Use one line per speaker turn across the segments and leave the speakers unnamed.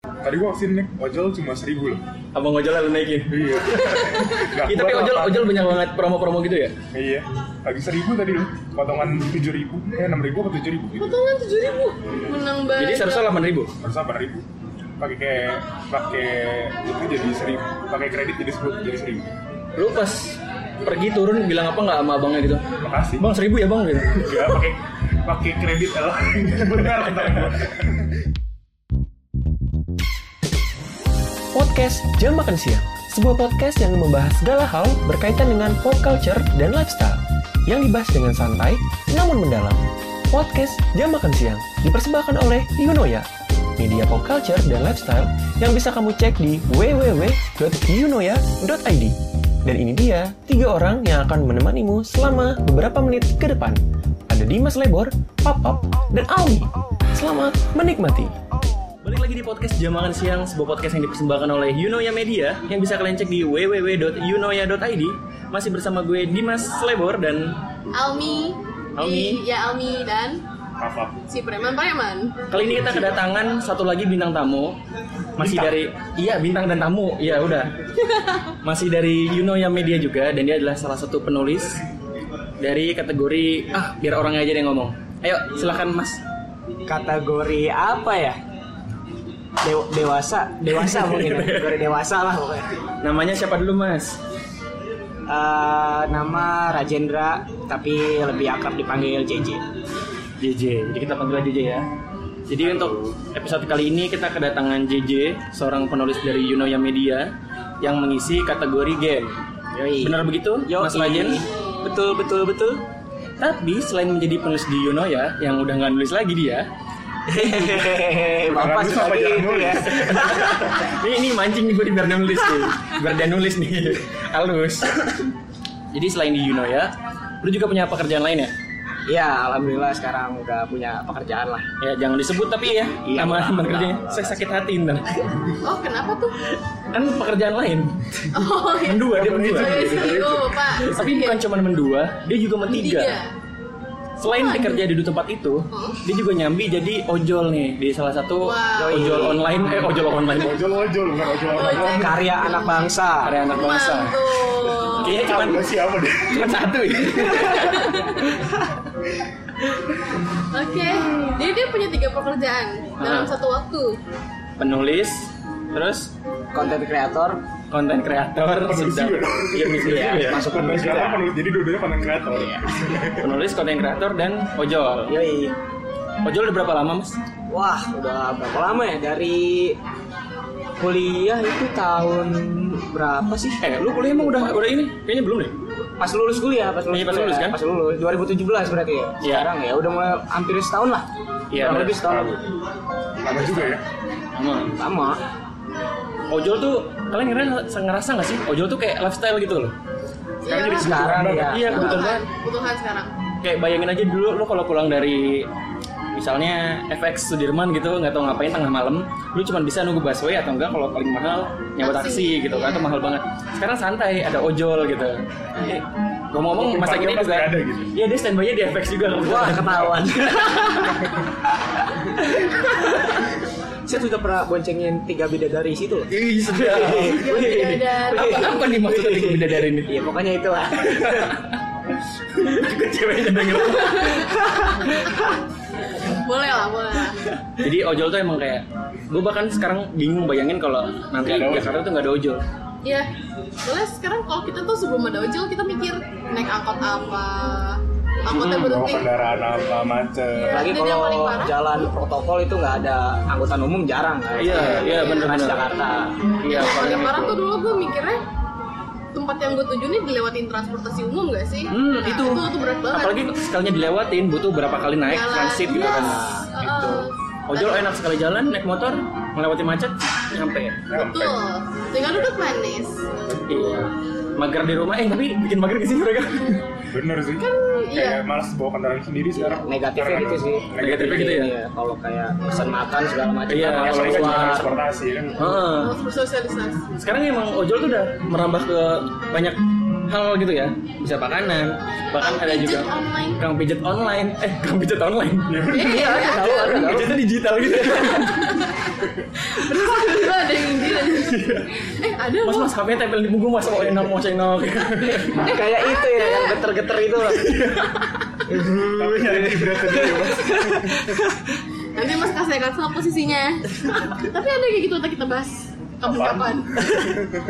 tadi gua vaksin nih ojol cuma seribu loh
Abang ojol lu naikin.
iya Nggak
Iya, tapi
kuat
ojol
lah, Pak.
ojol banyak banget promo-promo gitu ya.
iya lagi seribu tadi loh potongan tujuh ribu eh enam ribu atau tujuh ribu gitu
Potongan tujuh ribu, menang banget.
Jadi seharusnya delapan ribu.
harus apa ribu pakai kayak pakai itu jadi seribu pakai kredit jadi sebut jadi seribu
Lu pas pergi turun bilang apa nggak sama abangnya gitu?
makasih
Bang seribu ya bang gitu.
Enggak Iya, pakai pakai kredit L. Benar kata gua.
Podcast Jam Makan Siang, sebuah podcast yang membahas segala hal berkaitan dengan pop culture dan lifestyle, yang dibahas dengan santai namun mendalam. Podcast Jam Makan Siang dipersembahkan oleh Yunoya, media pop culture dan lifestyle yang bisa kamu cek di www.yunoya.id. Dan ini dia, tiga orang yang akan menemanimu selama beberapa menit ke depan. Ada Dimas Lebor, Papap, dan Alwi. Selamat menikmati.
Balik lagi di podcast Jam Makan Siang, sebuah podcast yang dipersembahkan oleh Yunoya Media yang bisa kalian cek di www.yunoya.id. Masih bersama gue Dimas Slebor dan
Almi.
Almi.
Di- Ya Almi dan
Apa?
si preman-preman.
kali ini kita kedatangan satu lagi bintang tamu. Masih
Bintang?
dari iya bintang dan tamu. Iya udah. Masih dari Yunoya Media juga dan dia adalah salah satu penulis dari kategori ah biar orangnya aja deh yang ngomong. Ayo silahkan Mas.
kategori apa ya? Dew- dewasa, dewasa mungkin ya. kategori dewasa lah pokoknya.
Namanya siapa dulu Mas?
Eh, nama Rajendra tapi lebih akrab dipanggil JJ.
JJ. Jadi kita panggil aja JJ ya. Jadi untuk episode kali ini kita kedatangan JJ, seorang penulis dari Yunoya Media yang mengisi kategori game.
Yoi.
Benar begitu,
Yoi.
Mas Rajen?
Betul betul betul.
Tapi selain menjadi penulis di Yunoya yang udah nggak nulis lagi dia,
Karena
Hehehe, Bapak
lu
suka
sampai jarang
gitu ya.
nulis.
ini ini mancing nih gue di biar dia nulis nih, biar dia nulis nih, halus. Jadi selain di Yunoya, lu juga punya pekerjaan lain ya?
Ya, alhamdulillah sekarang udah punya pekerjaan lah.
Ya jangan disebut tapi ya,
Iya,
sama
enggak,
pekerjaannya.
enggak.
Saya sakit hati ntar.
Oh kenapa tuh?
Kan pekerjaan lain.
Oh ya.
Mendua dia
Iya,
mendua.
Saya serius, Pak.
Tapi bukan cuma mendua, dia juga mentiga. Selain dia kerja di tempat itu,
Hmm.
dia juga nyambi jadi ojol nih di salah satu
Wow.
ojol online, eh ojol online,
Ojol ojol bukan ojol
Ojol.
orang.
Karya anak bangsa.
karya anak bangsa.
Mantul.
Kayaknya cuma
Enggak siapa deh.
cuma satu ya.
Oke, jadi dia punya tiga pekerjaan dalam
Ah.
satu waktu.
Penulis, terus
Konten kreator.
konten kreator,
Penulis
sudah
juga dong.
iya penulis juga
Iya,
ya.
masuk
Konten kreator penulis jadi dua-duanya konten kreator.
Iya. Penulis, konten kreator dan ojol.
Yoi.
Ojol udah berapa lama mas?
Wah, udah berapa lama ya dari kuliah itu tahun berapa sih?
Eh, lu kuliah emang udah udah ini? Kayaknya belum deh.
Pas lulus kuliah, pas lulus,
Iya, pas lulus
kuliah,
kan?
Pas lulus 2017 berarti ya.
Iya.
Sekarang ya udah mulai hampir setahun lah.
Iya,
Kurang
benar.
lebih setahun lebih.
Lama juga ya.
Lama.
Lama.
Ojol tuh kalian ngerasa ngerasa nggak sih? Ojol tuh kayak lifestyle gitu loh.
Iya,
Sekarang jadi
Pak.
Sekarang
banget.
ya.
Iya,
sekarang.
kebetulan.
Kebutuhan, kebutuhan sekarang.
kayak bayangin aja dulu lu kalau pulang dari misalnya FX Sudirman gitu nggak tahu ngapain tengah malam lu cuma bisa nunggu busway atau enggak kalau paling mahal nyawa
Taksi,
taksi gitu
iya.
kan itu mahal banget sekarang santai ada ojol gitu Eh, ngomong-ngomong
Tempat
masa
dia
gini
pasti
juga
ada gitu.
iya dia standby-nya di FX juga
Wah, ketahuan. Saya sudah pernah boncengin tiga bidadari situ. loh.
ih sudah iya,
bidadari.
apa apa nih maksudnya tiga bidadari ini
Iya, pokoknya itulah.
juga ceweknya denger
Boleh lah, boleh lah.
Jadi ojol tuh emang kayak gue bahkan sekarang bingung bayangin kalau nanti
Nggak ada ojol.
Jakarta tuh nggak ada ojol.
Iya, soalnya sekarang kalau kita tuh sebelum ada ojol kita mikir naik angkot apa, angkotnya
Hmm, Bawa
berhenti.
kendaraan apa macet.
Lagi
Ini dia
kalau
paling parah.
jalan protokol itu nggak ada angkutan umum jarang kan?
Iya, iya, bener,
Transjakarta.
bener. Iya,
yang
paling
paling parah
itu.
tuh dulu gue mikirnya tempat yang gue tuju nih dilewatin transportasi umum gak sih?
Hmm,
Nah,
itu.
itu tuh berat banget.
Apalagi sekalinya dilewatin butuh berapa kali naik
Jalan.
transit gitu
Yes.
kan.
Heeh.
Gitu. Ojol enak sekali jalan, naik motor, melewati macet, nyampe.
Nyampe.
Betul. Tinggal duduk manis.
Iya. Mager di rumah, eh tapi bikin mager ke sini mereka.
Bener sih.
iya.
Kayak malas bawa kendaraan sendiri sekarang.
Kan, Iya, Negatifnya
Karena-
gitu sih.
Negatifnya gitu ya?
Iya, kalau kayak pesan makan segala macam
Iya,
kan,
Kalau
kalau
ini kan cuma
keluar.
transportasi kan.
Heeh.
Harus bersosialisasi.
Sekarang emang ojol tuh udah merambah ke banyak hal gitu ya. Bisa makanan, bahkan ada
Pijat
juga
online.
Kang pijet online, eh kang pijet online.
Iya,
Tahu,
ada.
Gadgetnya digital gitu.
Terus tiba-tiba ada yang gini Eh ada
Mas
loh
mas HP tempel di punggung mas mau enak mau enak.
Kayak itu ya, yang geter-geter itu loh.
Tapi nyari ibrat sendiri mas.
Nanti mas kasih kasih apa posisinya Tapi ada kayak gitu nanti kita bahas Kapan-kapan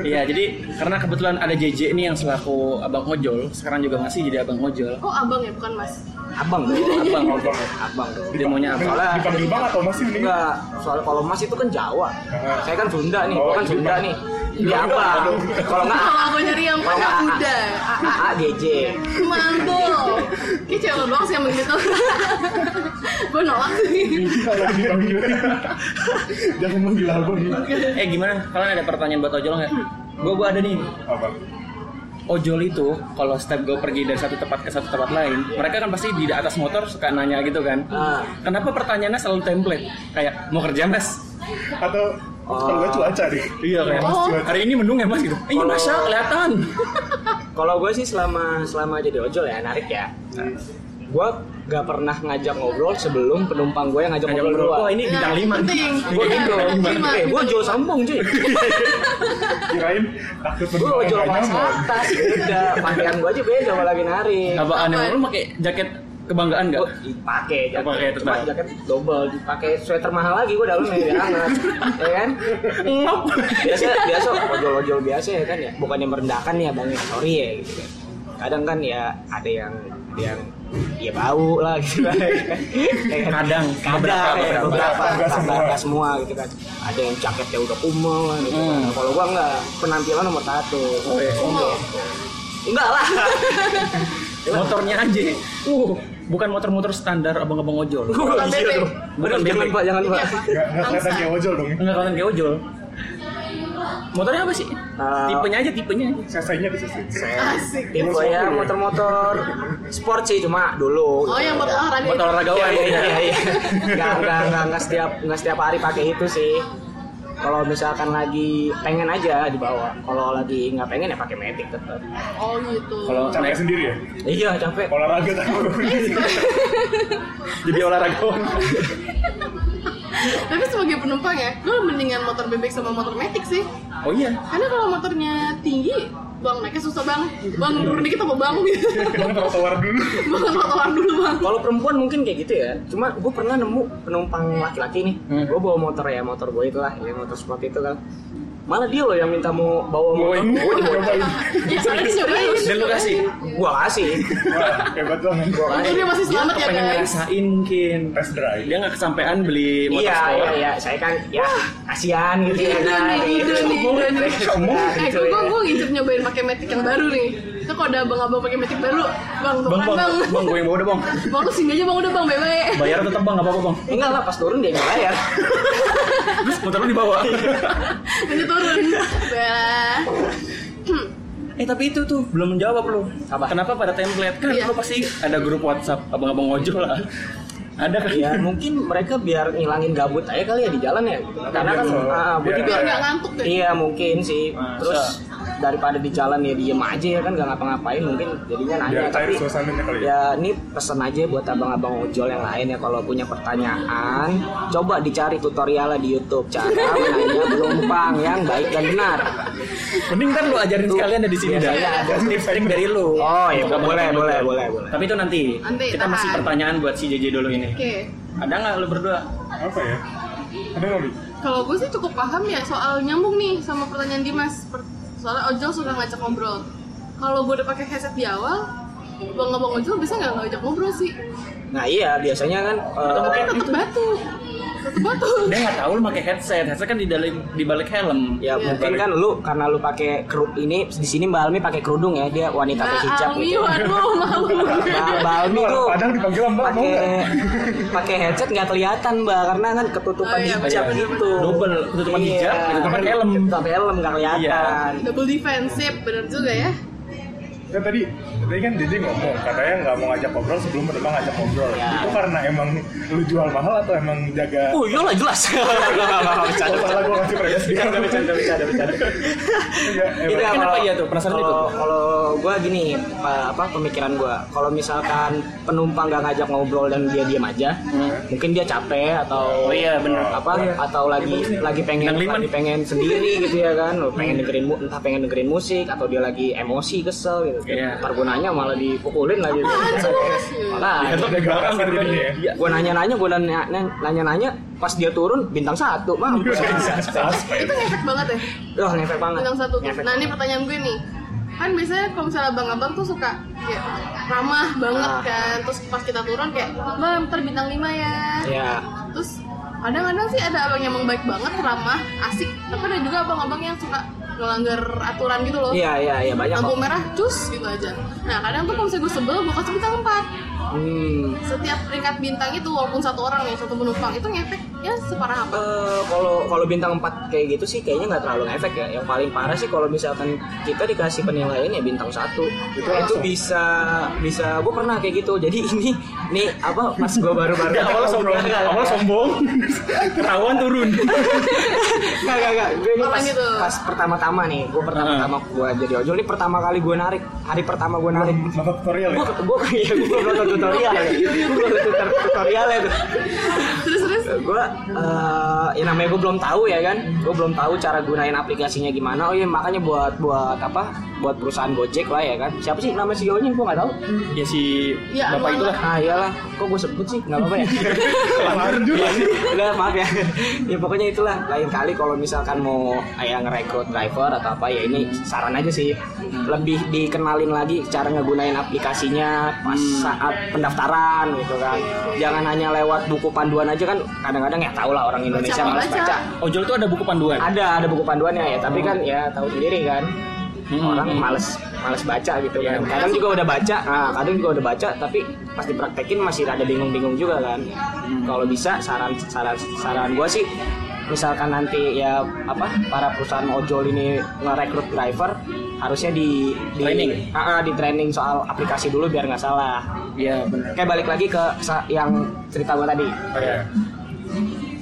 Iya jadi karena kebetulan ada JJ nih yang selaku abang ojol sekarang juga masih jadi abang ojol.
Oh abang ya bukan mas
Abang dong,
Abang
Abang.
abang dong.
dia maunya apa?
Soalnya-
Dipanggil bang atau masih ini?
Enggak, soalnya kalau Mas itu kan Jawa. Saya kan Sunda nih,
Oh,
gua kan
iya.
Sunda nih. Dia apa? Kalau enggak
Kalau aku nyari yang pada
Kalau-
muda
AA GJ.
Mampu Ini cewek doang sih yang begitu Gue nolak sih
Kalau dipanggil. Jangan manggil abang.
Eh gimana? Kalian ada pertanyaan buat ojol nggak? Gue gue ada nih.
Abang.
Ojol itu kalau setiap gue pergi dari satu tempat ke satu tempat lain, mereka kan pasti di atas motor suka nanya gitu kan.
Ah.
Kenapa pertanyaannya selalu template? Kayak mau kerja mas?
Atau
Ah.
kalau gue cuaca deh.
Iya kayak mas.
Oh.
Hari ini mendung ya mas gitu. Ini
Kalau-
masa kelihatan.
Kalau gue sih selama selama jadi ojol ya narik ya. Gue gak pernah ngajak ngobrol sebelum penumpang gue yang ngajak
Kayak
ngobrol
berdua, Wah
duluan.
"Oh, ini bintang lima. nih."
Penting.
Gue
Iya,
gitu,
bintang
gimana?
lima,
Eh, gue
bintang
ojol
lima.
sambung cuy.
Kirain ah, takut
Gue
mendengar
ojol
yang
kelas
nyaman.
atas, beda. Pakaian gue aja beda kalau lagi narik.
Apaan yang lu pakai jaket kebanggaan nggak?
Gue dipakai jaket,
Pakai
cuma
tetap.
jaket double, dipakai sweater mahal lagi gue dalamnya biar hangat, ya kan?
Ngop.
Biasa biasa ojol-ojol biasa ya kan ya, bukannya merendahkan ya bang, ya, sorry ya gitu kan. Kadang kan ya ada yang ada yang ya bau lah gitu kan. Ya kan?
Kadang, beberapa,
kadang ya,
beberapa.
beberapa
Nggak
nggak
semua.
semua. semua gitu kan ada yang jaketnya udah kumel lah, gitu kan.
Hmm.
kalau gua nggak penampilan nomor satu
Oh, iya.
Kumel. enggak lah
Motornya aja. Uh, bukan motor-motor standar abang-abang ojol.
Gua
Bukan
iya
bebek.
dong.
Bukan
Bener, jangan
bebek. Iya,
pak jangan
Ini
pak
apa?
Nggak nggak kelihatan
Angsa.
kayak ojol dong.
Enggak kalian kayak ojol. Motornya apa sih?
Ah.
tipenya aja tipenya.
Sesainya tuh sesai.
Asik.
Iya,
Tipe ya motor-motor sport sih cuma dulu.
Oh yang buat olahraga.
Buat olahraga
Iya
ya.
iya iya. Enggak enggak enggak enggak setiap enggak setiap hari pakai itu sih. Kalau misalkan lagi pengen aja dibawa. Kalau lagi nggak pengen ya pakai metik tetap.
Oh gitu.
Kalau
Capek
naik
sendiri ya?
Iya capek.
Olahraga
Iya,
takut.
jadi olahragawan.
Tapi sebagai penumpang ya, gue mendingan motor bebek sama motor metik sih.
Oh iya.
Karena kalau motornya tinggi, bang naiknya susah bang. Bang turun dikit apa bang? Gitu.
Bang trotoar dulu.
bang trotoar dulu bang.
Kalau perempuan mungkin kayak gitu ya. Cuma gue pernah nemu penumpang laki-laki nih.
Hmm.
Gue bawa motor ya, motor gue itulah, ya motor sport itu kan. Malah dia loh yang minta mau bawa
Bawain.
motor. Gue
Cobain.
Ya soalnya dicobain.
Dan lu kasih.
gue kasih.
Wah, hebat banget.
Untung dia masih selamat ya
Pengen
guys.
ngerasain mungkin.
Test drive.
Dia nggak kesampaian beli motor
Iya,
sekolah.
iya, iya. Saya kan ya kasihan
Iya,
gitu ya.
Ide
kan.
nih, ide nih, ide nih.
Sombong.
Eh,
gitu
gue
ya.
gue gue ngincer nyobain pakai metik yang baru nih. Itu kalau ada abang-abang pakai metik baru, bang
Bang,
tukeran
bang,
bang.
bang, gue yang bawa deh bang.
Bang lu sini aja bang udah bang bebe.
Bayar tetap bang, nggak apa-apa bang.
Enggak lah, pas turun dia yang bayar.
Terus motor lu dibawa.
Ini turun. Bella.
eh tapi itu tuh belum menjawab lu.
Apa?
Kenapa pada template kan?
Iya.
Lu pasti ada grup WhatsApp abang-abang ojol lah. Ada kan?
ya mungkin mereka biar ngilangin gabut aja kali ya di jalan ya. Karena kan,
Biar-
ah, gue
biar-
juga
Biar nggak ngantuk deh.
Iya mungkin sih. Terus daripada di jalan ya diem aja ya kan gak ngapa-ngapain mungkin jadinya nanya.
Biar cair
Tapi
suasananya kali ya.
ya ini pesan aja buat abang-abang ojol yang lain ya kalau punya pertanyaan coba dicari tutorialnya di YouTube cara menanya penumpang yang baik dan benar.
Mending kan lu ajarin sekalian ada di sini dah.
Biasanya Iya, ada.
Tips-tips dari lu.
Oh iya
Abang-abang
boleh
ojol.
boleh boleh boleh.
Tapi itu nanti.
Nanti,
Kita
tahan.
masih pertanyaan buat si JJ dulu ini.
Oke.
Ada nggak lu berdua?
Apa ya? Ada nggak Bi?
Kalau gue sih cukup paham ya soal nyambung nih sama pertanyaan Dimas. Per- Soalnya ojol suka ngajak ngobrol. Kalau gue udah pakai headset di awal, bang abang ojol bisa nggak ngajak ngobrol sih?
Nah iya biasanya kan eh,
Atau mungkin
Tetep batu, tetep batu.
dia nggak tahu lu pakai headset. Headset kan di dalam di balik helm.
ya
Iya.
mungkin kan lu karena lu pakai kerudung ini di sini Mbak Almi pakai kerudung ya dia wanita
Nah,
berhijab
Almi,
gitu.
waduh, malu.
Mbak, Mbak Almi tuh
Padahal dipanggil mbak mau
pakai
nggak?
pakai headset nggak kelihatan Mbak karena kan ketutupan
Oh, iya,
hijab
bener-bener.
gitu.
Double, ketutupan hijab, ketutupan helm.
Ketutupan helm nggak kelihatan.
Iya.
Double defensive, bener juga ya.
Kan tadi tadi kan JJ ngomong katanya nggak mau ngajak ngobrol sebelum penumpang ngajak ngobrol.
Iya.
Itu karena emang lu jual mahal atau emang jaga
Oh iyalah jelas.
Kalau salah gue kasih premis dia.
Bercanda, bercanda, bercanda, bercanda.
Iya,
Itu
emang.
Kenapa iya tuh? Penasaran itu?
Kalau gue gini, pa- apa pemikiran gue? Kalau misalkan penumpang gak ngajak ngobrol dan dia diem aja, mungkin dia capek atau
Hmm. Oh iya, bener.
apa? Atau lagi lagi pengen
Bintang lima
lagi
nih. Hmm.
pengen sendiri gitu ya kan? Lo pengen dengerin mu- entah pengen dengerin musik atau dia lagi emosi kesel gitu.
Iya.
Ntar gua nanya malah dipukulin lagi.
Apaan sih lu?
Iya.
Malah.
Ada gerakan
gitu
kan jadinya ya.
Gue nanya-nanya, gue nanya-nanya, pas dia turun bintang satu,
Iya,
mampus.
Suspend.
Itu ngefek banget ya.
Wah ngefek banget.
Bintang satu.
Ngefek
Nah ini pertanyaan gue nih. Kan biasanya kalau misalnya abang-abang tuh suka kayak ramah banget
Ah.
kan. Terus pas kita turun kayak, bang ntar bintang lima ya.
Ya,
Terus kadang-kadang sih ada abang yang emang baik banget, ramah, asik. Tapi ada juga abang-abang yang suka ngelanggar aturan gitu loh.
iya iya iya banyak
Lampu
kok.
merah, cus gitu aja. Nah kadang tuh kalau misalnya gue sebel, gue kasih bintang empat.
Hmm.
Setiap peringkat bintang itu, walaupun satu orang ya, satu penumpang, itu ngefek ya separah apa.
Eh, kalau kalau bintang 4 kayak gitu sih kayaknya nggak terlalu efek ya. Yang paling parah sih kalau misalkan kita dikasih penilaian ya bintang satu Nah, itu, bisa bisa gue pernah kayak gitu. Jadi ini nih apa pas gue baru-baru
Ya, awalnya sombong,
Nggak,
awalnya sombong, ketahuan turun.
Enggak, enggak, enggak. Gue ini
Apa
pas,
gitu?
pas pertama-tama nih, gue pertama-tama gue jadi ojol ini pertama kali gue narik, hari pertama gue narik.
Mata tutorial ya.
Gue gue ya gue nonton tutorial ya, gue nonton tutorial ya tuh.
Terus-terus,
gue ya namanya gue belum tahu ya kan gue belum tahu cara gunain aplikasinya gimana oh iya makanya buat buat apa buat perusahaan gojek lah ya kan siapa sih nama CEO nya gue nggak tahu
Ya si
Ya,
bapak
Anwar.
itulah.
ah iyalah kok gue sebut sih nggak apa-apa ya
Lanjut.
udah maaf ya ya pokoknya itulah lain kali kalau misalkan mau ya ngerekrut driver atau apa ya ini saran aja sih lebih dikenalin lagi cara ngegunain aplikasinya pas
Hmm.
saat pendaftaran gitu kan jangan hanya lewat buku panduan aja kan kadang-kadang ya tau lah orang Indonesia
Baca,
malas
baca.
baca
Ojol tuh ada buku panduan.
ada ada buku panduannya ya tapi kan ya tahu sendiri kan
Hmm.
orang males males baca gitu
Iya,
kan kadang juga udah baca nah, kadang juga udah baca tapi pas dipraktekin masih ada bingung-bingung juga kan
Hmm.
kalau bisa saran saran saran gua sih misalkan nanti ya apa para perusahaan ojol ini ngerekrut driver harusnya di, di
Training.
Ah, ah, di training soal aplikasi dulu biar nggak salah
Iya benar.
kayak balik lagi ke sa- yang cerita gua tadi
Iya.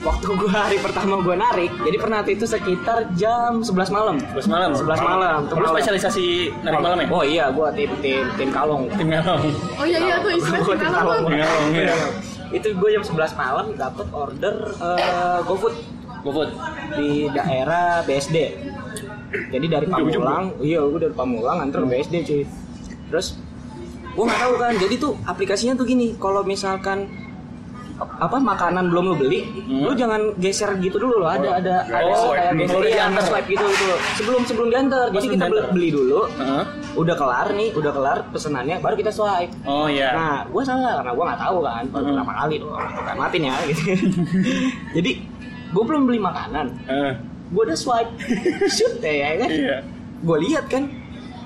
waktu gua hari pertama gua narik jadi pernah itu sekitar jam 11 malam
11 malam.
11 malam ya?
Lu spesialisasi narik malam ya?
oh iya gua tim tim tim kalong
tim ngalong.
oh iya iya tuh istilah
Gua
sih
tim
kalau tuh.
Tim ngalong ya.
itu gua jam 11 malam dapet order eh, GoFood
GoFood.
di daerah BSD jadi dari Pamulang iya gua dari Pamulang antar ke BSD cuy terus gua nggak tahu kan jadi tuh aplikasinya tuh gini kalau misalkan apa makanan belum lu beli, lu jangan geser gitu dulu loh. Ada ada
nggak ada
ada
swipe
kayak
dulu.
geser
Baru
iya,
diantar.
swipe gitu gitu. loh. Sebelum sebelum diantar, jadi
sebelum
kita beli,
diantar.
beli dulu.
Heeh.
Udah kelar nih, udah kelar pesenannya, baru kita swipe.
Oh iya.
Nah, gue salah karena gue nggak tahu kan, baru
Mhm.
pertama kali tuh orang tuh kan matiin ya. Gitu. jadi gue belum beli makanan,
Eh,
gue udah swipe, shoot ya kan
Iya.
gue lihat kan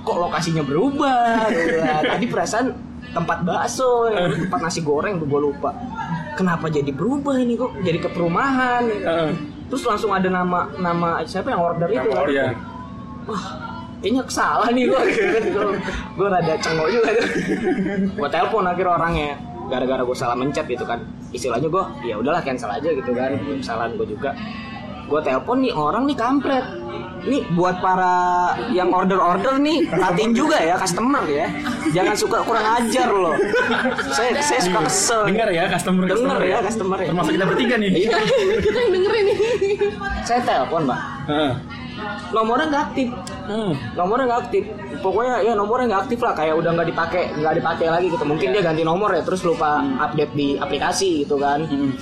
kok lokasinya berubah Gua bilang, tadi perasaan tempat bakso ya kan? tempat nasi goreng gue lupa kenapa jadi berubah ini kok jadi ke perumahan ya kan?
Heeh.
terus langsung ada nama nama siapa yang order itu
Nama
kan
order.
Iya.
wah kayaknya salah nih gue gue rada cengok juga gue telepon akhirnya orangnya gara-gara gue salah mencet gitu kan istilahnya gue ya udahlah cancel aja gitu kan kesalahan gue juga gue telepon nih orang nih kampret nih buat para yang order-order nih perhatiin juga ya customer ya jangan suka kurang ajar loh saya saya suka kesel
Dengar ya customer
Dengar ya, customer ya.
Termasuk kita bertiga nih.
Iya.
kita yang dengerin nih
saya telepon mbak
Heeh.
nomornya nggak aktif
Hmm.
nomornya nggak aktif pokoknya ya nomornya nggak aktif lah kayak udah nggak dipakai nggak dipakai lagi gitu mungkin dia ganti nomor ya terus lupa update di aplikasi gitu kan
Hmm.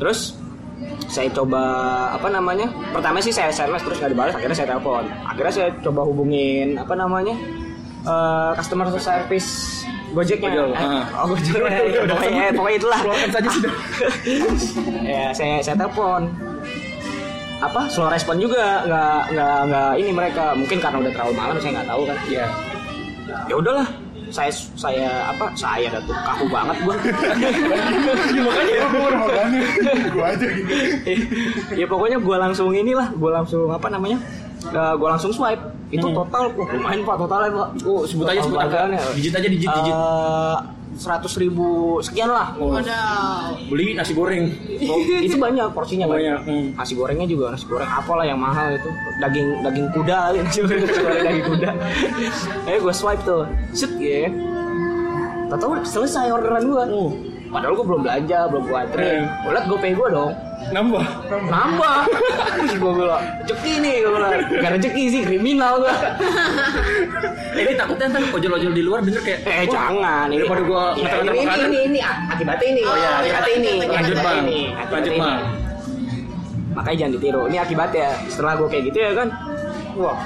terus saya coba apa namanya pertama sih saya sms terus nggak dibalas akhirnya saya telepon akhirnya saya coba hubungin apa namanya eh, customer service Gojeknya
Gojol,
Eh,
ah.
oh Gojek pokoknya, pokoknya itulah
Keluarkan saja sudah.
ya saya saya telepon apa slow respon juga nggak nggak nggak ini mereka mungkin karena udah terlalu malam saya nggak tahu kan
Iya.
ya udahlah saya saya apa saya dah tuh kaku banget gua
Ya makanya gue udah mau tanya. Gue aja gitu.
ya pokoknya gua langsung inilah gua langsung apa namanya gue langsung swipe itu total wah lumayan pak totalnya pak
Hmm. Oh, sebut aja sebut angka.
Totalnya.
Digit aja digit digit. Oh,
Eh, 100.000 ribu sekian lah
Wadaw.
Beli nasi goreng.
Oh, itu banyak porsinya
nah. Banyak,
banyak.
hmm.
Nasi gorengnya juga nasi goreng apalah yang mahal itu daging daging kuda kali nasi goreng nasi goreng daging kuda. Eh gue swipe tuh, shoot ya. Tak tahu selesai orderan gue.
Oh,
Padahal gue belum belanja, belum gue antri.
Hmm.
Gue liat GoPay gue dong,
nambah.
nambah. Terus gue bilang, rezeki nih gue bilang. Gak rezeki sih kriminal gue.
Eh, ini takutnya ntar ojol-ojol di luar denger kayak "Wah,
Eh jangan. ini-
daripada gua
Ya,
ngeter-ngeter
ini, ini,
makanan."
ini, ini, ah, akibatnya ini.
Oh, iya,
akibatnya ini.
iya.
Lanjut
akibatnya
bang,
ini,
lanjut
akibatnya ini.
bang.
makanya jangan ditiru ini akibatnya setelah gue kayak gitu ya kan wah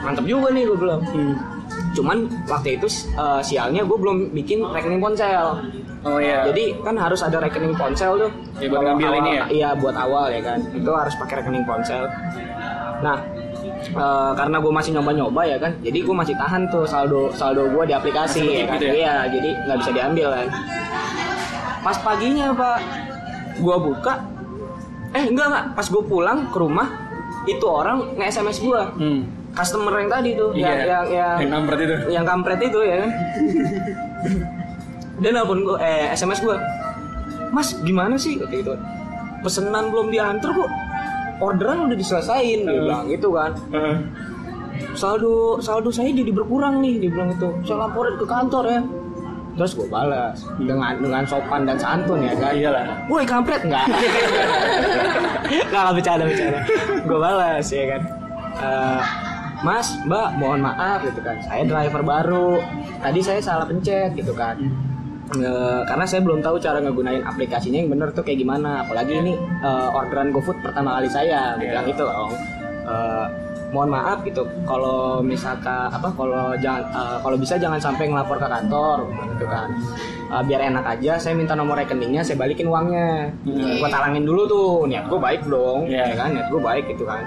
mantep juga nih gue bilang
Hmm.
cuman waktu itu eh, sialnya gue belum bikin rekening ponsel
Oh iya.
jadi kan harus ada rekening ponsel tuh
Ya, buat ngambil
Awal-
ini ya? Hmm.
iya buat awal ya kan itu harus pakai rekening ponsel nah eh, karena gue masih nyoba-nyoba ya kan jadi gue masih tahan tuh saldo saldo gue di aplikasi
Masih
ya kan?
gitu ya?
iya jadi nggak bisa diambil kan pas paginya pak gue buka eh enggak enggak pas gue pulang ke rumah itu orang nge sms gue
Hmm.
customer yang tadi tuh
Iya.
yang yang yang,
Yang kampret itu.
yang kampret itu ya kan dia nelfon gue eh sms gue mas gimana sih kayak gitu pesenan belum diantar kok orderan udah diselesain dia
Hmm.
bilang gitu kan
Heeh.
saldo saldo saya jadi berkurang nih dia bilang itu saya laporin ke kantor ya terus gue balas dengan dengan sopan dan santun ya kan
Iyalah.
woi kampret nggak nggak nggak bercanda bercanda gue balas ya kan Eh, mas mbak mohon maaf gitu kan saya driver baru tadi saya salah pencet gitu kan Eh, karena saya belum tahu cara ngegunain aplikasinya yang bener tuh kayak gimana apalagi ini eh, orderan GoFood pertama kali saya
Iya.
bilang itu om Eh, mohon maaf gitu kalau misalkan apa kalau jangan eh, kalau bisa jangan sampai ngelapor ke kantor gitu kan Eh, biar enak aja saya minta nomor rekeningnya saya balikin uangnya
Hmm.
gue talangin dulu tuh niat gue baik dong
Iya.
ya kan niat gue baik gitu kan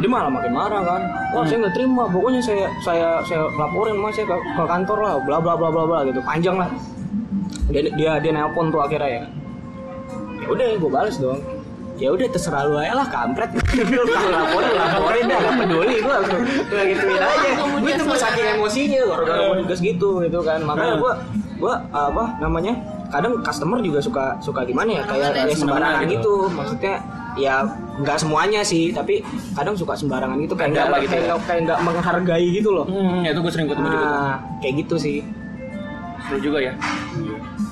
dia malah makin marah kan wah saya nggak terima pokoknya saya saya saya laporin mas saya ke, ke kantor lah bla bla bla bla bla gitu panjang lah dia dia dia nelpon tuh akhirnya ya ya udah gue balas dong ya udah terserah lu aja lah kampret Lu laporin laporin dah gak peduli gue langsung gue gituin aja gue tuh gue saking emosinya gara-gara gue digas gitu gitu kan makanya gue gue apa namanya kadang customer juga suka suka gimana ya kayak kayak sembarangan gitu maksudnya ya nggak semuanya sih tapi kadang suka sembarangan gitu
Ada
kayak nggak
apa gitu
kayak
ya?
nggak- kayak nggak menghargai gitu loh
Hmm, ya itu gue sering ketemu juga. tuh.
nah kayak gitu sih
Seru juga ya.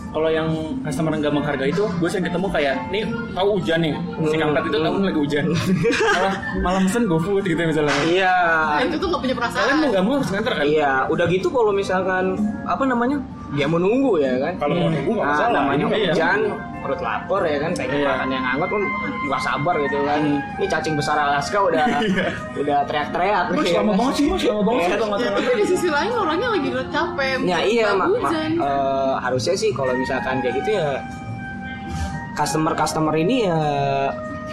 Kalau yang customer nggak menghargai itu, gue sering ketemu kayak, nih tahu hujan nih, si
Hmm.
kampret itu tahu lagi hujan. malah malah mesen GoFood gitu misalnya.
iya
Nah, itu tuh gak punya perasaan.
Kalian mau nggak mau harus nganter kan?
Iya, udah gitu kalau misalkan apa namanya? Dia mau nunggu ya kan.
Kalau mau nunggu nggak
Nah,
masalah.
namanya
Ini
iya.
hujan, perut lapar ya kan, pengen
Iya.
makan yang hangat kan nggak sabar gitu kan. Ini cacing besar Alaska udah
Iya.
udah teriak-teriak.
Mas
gitu ya
lama
kan.
banget sih, mas lama banget sih
Iya.
kalau
Ya,
nganter.
tapi di sisi lain orangnya lagi udah capek.
Ya iya,
Nggak
mak, mak-
hujan.
eh, harusnya sih kalau misalkan kayak gitu ya customer-customer ini ya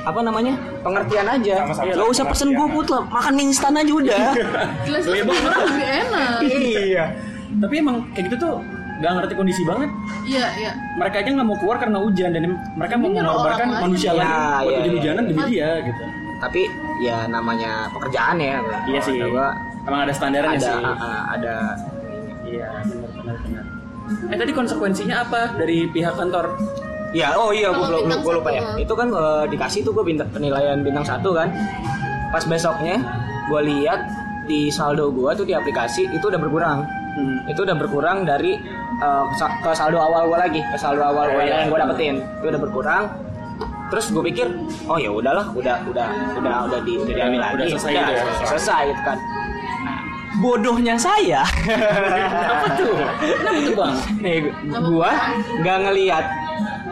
apa namanya pengertian aja
Sama-sama
nggak usah pesen
Iya.
pengertian.
GoFood lah makan mie instan aja udah
Jelas jelas orang lebih enak.
iya
Tapi emang kayak gitu tuh nggak ngerti kondisi banget.
Iya iya.
Mereka aja nggak mau keluar karena hujan dan mereka mau
Ini nyolong
mengorbankan
orang
manusia
aja.
lain
Ya,
buat
iya,
hujan-hujanan
iya.
demi dia gitu.
tapi ya namanya pekerjaan ya
Iya sih.
Kata gua,
Emang ada standarnya
ada
sih.
ah, ah, ada
Iya, benar-benar. benar. Eh tadi konsekuensinya apa dari pihak kantor?
ya oh iya gue
Kalau
lupa,
bintang
lupa ya
satu,
itu kan eh, dikasih tuh gue penilaian bintang satu kan pas besoknya gue lihat di saldo gue tuh di aplikasi itu udah berkurang
Hmm.
itu udah berkurang dari eh, sa- ke saldo awal gue lagi ke saldo awal gue
Oh, iya.
yang gue dapetin itu udah berkurang terus gue pikir oh ya udahlah udah udah udah udah di udah diambil
Udah
lagi
selesai gitu ya.
selesai gitu kan Nah, bodohnya saya
Apa tuh? Kenapa tuh bang?
Nih, gua nggak ngelihat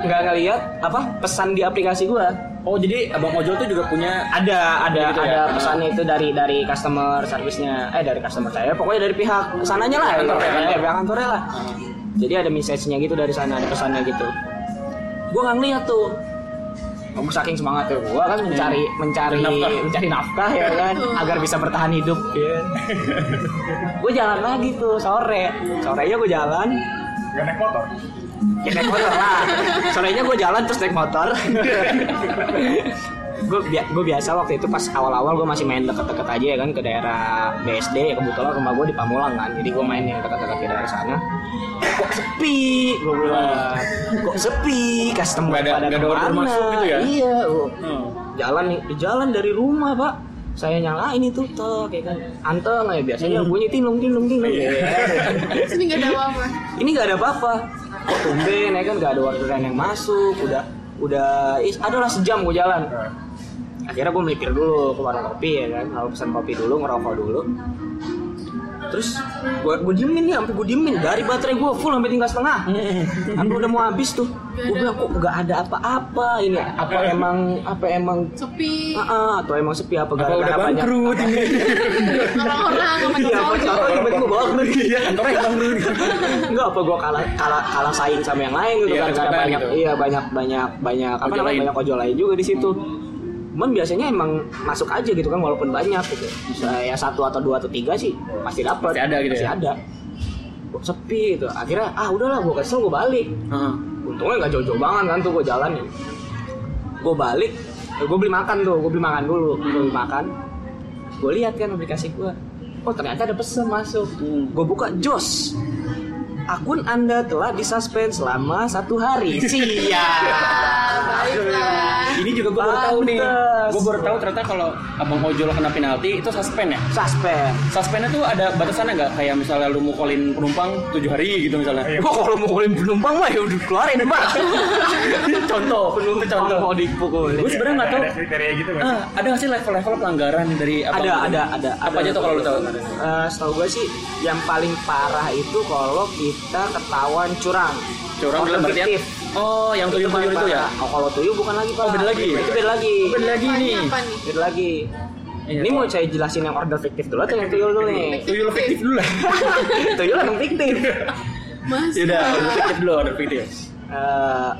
nggak ngelihat apa pesan di aplikasi gua.
Oh jadi abang ojol tuh juga punya
Ada ada
Gitu ya?
ada pesannya itu dari dari customer service-nya. Eh dari customer saya, pokoknya dari pihak sananya lah.
Kantor ya,
ya,
kantor.
pihak kantornya lah.
Hmm.
Jadi ada message-nya gitu dari sana, ada pesannya gitu. Gua nggak ngelihat tuh. Aku saking semangat tuh, gua kan mencari
Cari
mencari
Hmm. nafkah.
mencari nafkah ya kan, agar bisa bertahan hidup. Iya. gue jalan lagi tuh sore, sorenya gue jalan,
Gak naik motor.
ya naik motor lah sorenya gue jalan terus naik motor gue gue biasa waktu itu pas awal-awal gue masih main deket-deket aja ya kan ke daerah BSD ya kebetulan rumah gue di Pamulang kan jadi gue main yang deket-deket di daerah sana kok sepi gue bilang kok sepi customer
Nggak ada-
pada
nggak ada order
kemana?
masuk gitu ya?
iya oh.
Hmm.
jalan nih di jalan dari rumah pak saya nyalain itu tuh kayak kan anteng ya biasanya
Hmm.
bunyi tinglung tinglung tinglung
Iya.
ya.
Sini nggak ada apa-apa.
ini nggak ada apa-apa kok tumben ya kan nggak ada orderan yang masuk udah udah is adalah sejam gue jalan akhirnya gue melipir dulu ke warung kopi ya kan kalau pesan kopi dulu ngerokok dulu terus gue gue diemin nih sampai gue diemin dari baterai gue full sampai tinggal setengah sampai udah mau habis tuh gue bilang kok nggak ada apa-apa ini apa emang apa emang
Sepi.
ah, ah, atau emang sepi
Apa
apa
udah
gara-gara banyak
bangkrut ini?
Orang-orang sama
Iya, apa
cowok.
apa tiba-tiba bangkrut
Iya, kantornya bangkrut.
Enggak apa gua kalah kalah kalah saing sama yang lain gitu
Iya,
gara-gara
ternyata
banyak
gitu.
iya banyak banyak banyak apa
Ojol
namanya
lain. Hmm.
banyak ojol lain juga di situ. Cuman biasanya emang masuk aja gitu kan walaupun banyak gitu. Bisa ya satu atau dua atau tiga sih pasti dapat.
Pasti ada gitu
Pasti
ya?
ada. Kok sepi gitu. Akhirnya ah udahlah gua kesel gua balik.
Heeh.
Untungnya nggak jauh-jauh banget kan tuh gua jalan ya. Gua balik, eh, gua beli makan tuh, gua beli makan dulu, gua beli makan. Gua lihat kan aplikasi gua. Oh ternyata ada pesan masuk.
Hmm.
Gue buka Jos. Akun Anda telah disuspend selama satu hari. Siap.
Baiklah.
Ini juga gue baru tahu nih.
Pantes.
Gue baru tahu ternyata kalau abang ojol kena penalti itu suspend ya.
Suspend.
Suspendnya tuh ada batasannya nggak? Kayak misalnya lu mukulin penumpang 7 hari gitu misalnya.
Gua kalau mau ngulim penumpang mah ya udah keluarin pak.
contoh, itu contoh.
Mau dipukulin.
Gue sebenarnya nggak tahu.
Ada kriteria gitu nggak sih?
Ah, ada nggak sih level-level pelanggaran dari abang
Ada,
ojol?
ada, ada.
Apa
Ada.
aja tuh kalau lu tahu?
Eh, setahu gue sih yang paling parah itu kalau kita ketahuan curang.
Curang dalam artian?
Objektif.
Oh, yang tuyul-tuyul itu ya?
Oh, kalau tuyul bukan lagi pak.
Oh, beda lagi? Oh,
Itu beda lagi.
Beda lagi nih.
Apanya apa nih?
Beda lagi.
Iya,
Ini mau saya jelasin yang order fiktif dulu atau yang tuyul dulu nih?
Tuyul fiktif dulu lah.
tuyul yang fiktif.
Mas.
Yaudah, order fiktif dulu, order fiktif.
Eh,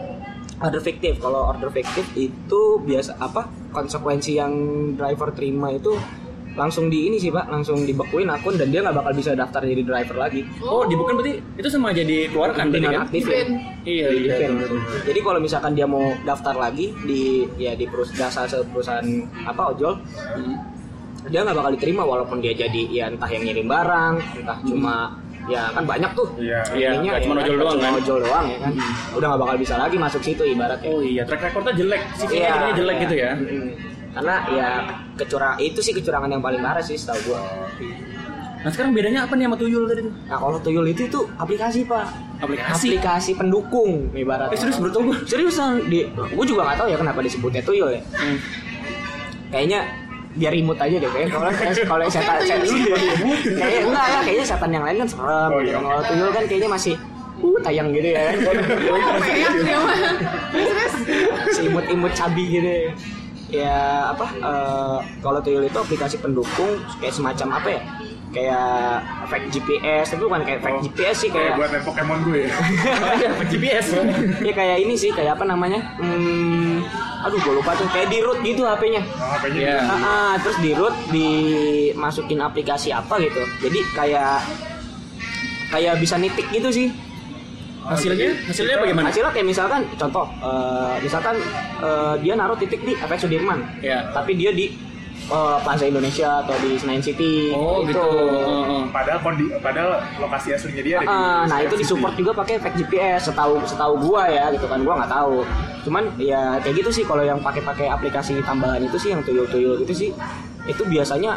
order fiktif. Kalau order fiktif itu biasa apa? Konsekuensi yang driver terima itu langsung di ini sih pak, langsung dibekuin akun dan dia nggak bakal bisa daftar jadi driver lagi.
Oh, dibuka berarti itu sama aja dikeluarkan tadi kan?
Dinonaktifin.
Ben.
Iya, iya.
Dipin. Jadi kalau misalkan dia mau daftar lagi di ya di perusahaan dasar perusahaan apa ojol,
Hmm.
dia nggak bakal diterima walaupun dia jadi ya entah yang ngirim barang, entah cuma ya kan banyak tuh.
Iya.
Iya,
Ininya,
nggak
ya
cuma
kan,
ojol
nggak
doang
cuma
kan?
Ojol doang ya kan. Udah nggak bakal bisa lagi masuk situ ibaratnya.
Oh iya, track recordnya jelek, sih jadinya jelek gitu ya.
Mm. Karena ya kecurang itu sih kecurangan yang paling parah sih setahu gua.
Nah sekarang bedanya apa nih sama tuyul tadi tuh?
Nah kalau tuyul itu itu aplikasi pak.
Aplikasi.
aplikasi pendukung ibaratnya.
Eh, serius, baru tau gua.
Seriusan di gua juga nggak tahu ya kenapa disebutnya tuyul ya.
Hmm.
Kayaknya biar imut aja deh kayaknya kalau kalau setan
tuyul
setan
juga
kayaknya enggak ya kayaknya setan yang lain kan serem
Oh,
gitu.
iya.
Kalau tuyul kan kayaknya masih uh tayang gitu ya.
Oh, peyak dia mah. Terus
Seimut-imut cabi gitu. ya. Ya apa eh, kalau tuyul itu aplikasi pendukung kayak semacam apa ya? Kayak fake GPS, tapi bukan kayak fake
Oh,
GPS sih
Kayak
kayak
buat yang Pokemon gue ya.
GPS.
ya kayak ini sih kayak apa namanya hmm, aduh gue lupa tuh kayak di root gitu HP-nya
Nah, HP-nya
Iya.
Ah, ah, terus di root dimasukin aplikasi apa gitu jadi kayak kayak bisa nitik gitu sih
Hasilnya? Hasilnya bagaimana?
hasilnya kayak misalkan contoh eh, misalkan eh, dia naruh titik di FX Sudirman
Iya.
tapi dia di eh, Plaza Indonesia atau di Senayan City
Oh gitu. Oh, oh.
Padahal kondi, padahal lokasi aslinya dia ada di
Ah, nah
Senayan
itu
City.
disupport juga pakai efek GPS setahu setahu gua ya gitu kan gua nggak tahu cuman ya kayak gitu sih kalau yang pakai-pakai aplikasi tambahan itu sih yang tuyul-tuyul gitu sih itu biasanya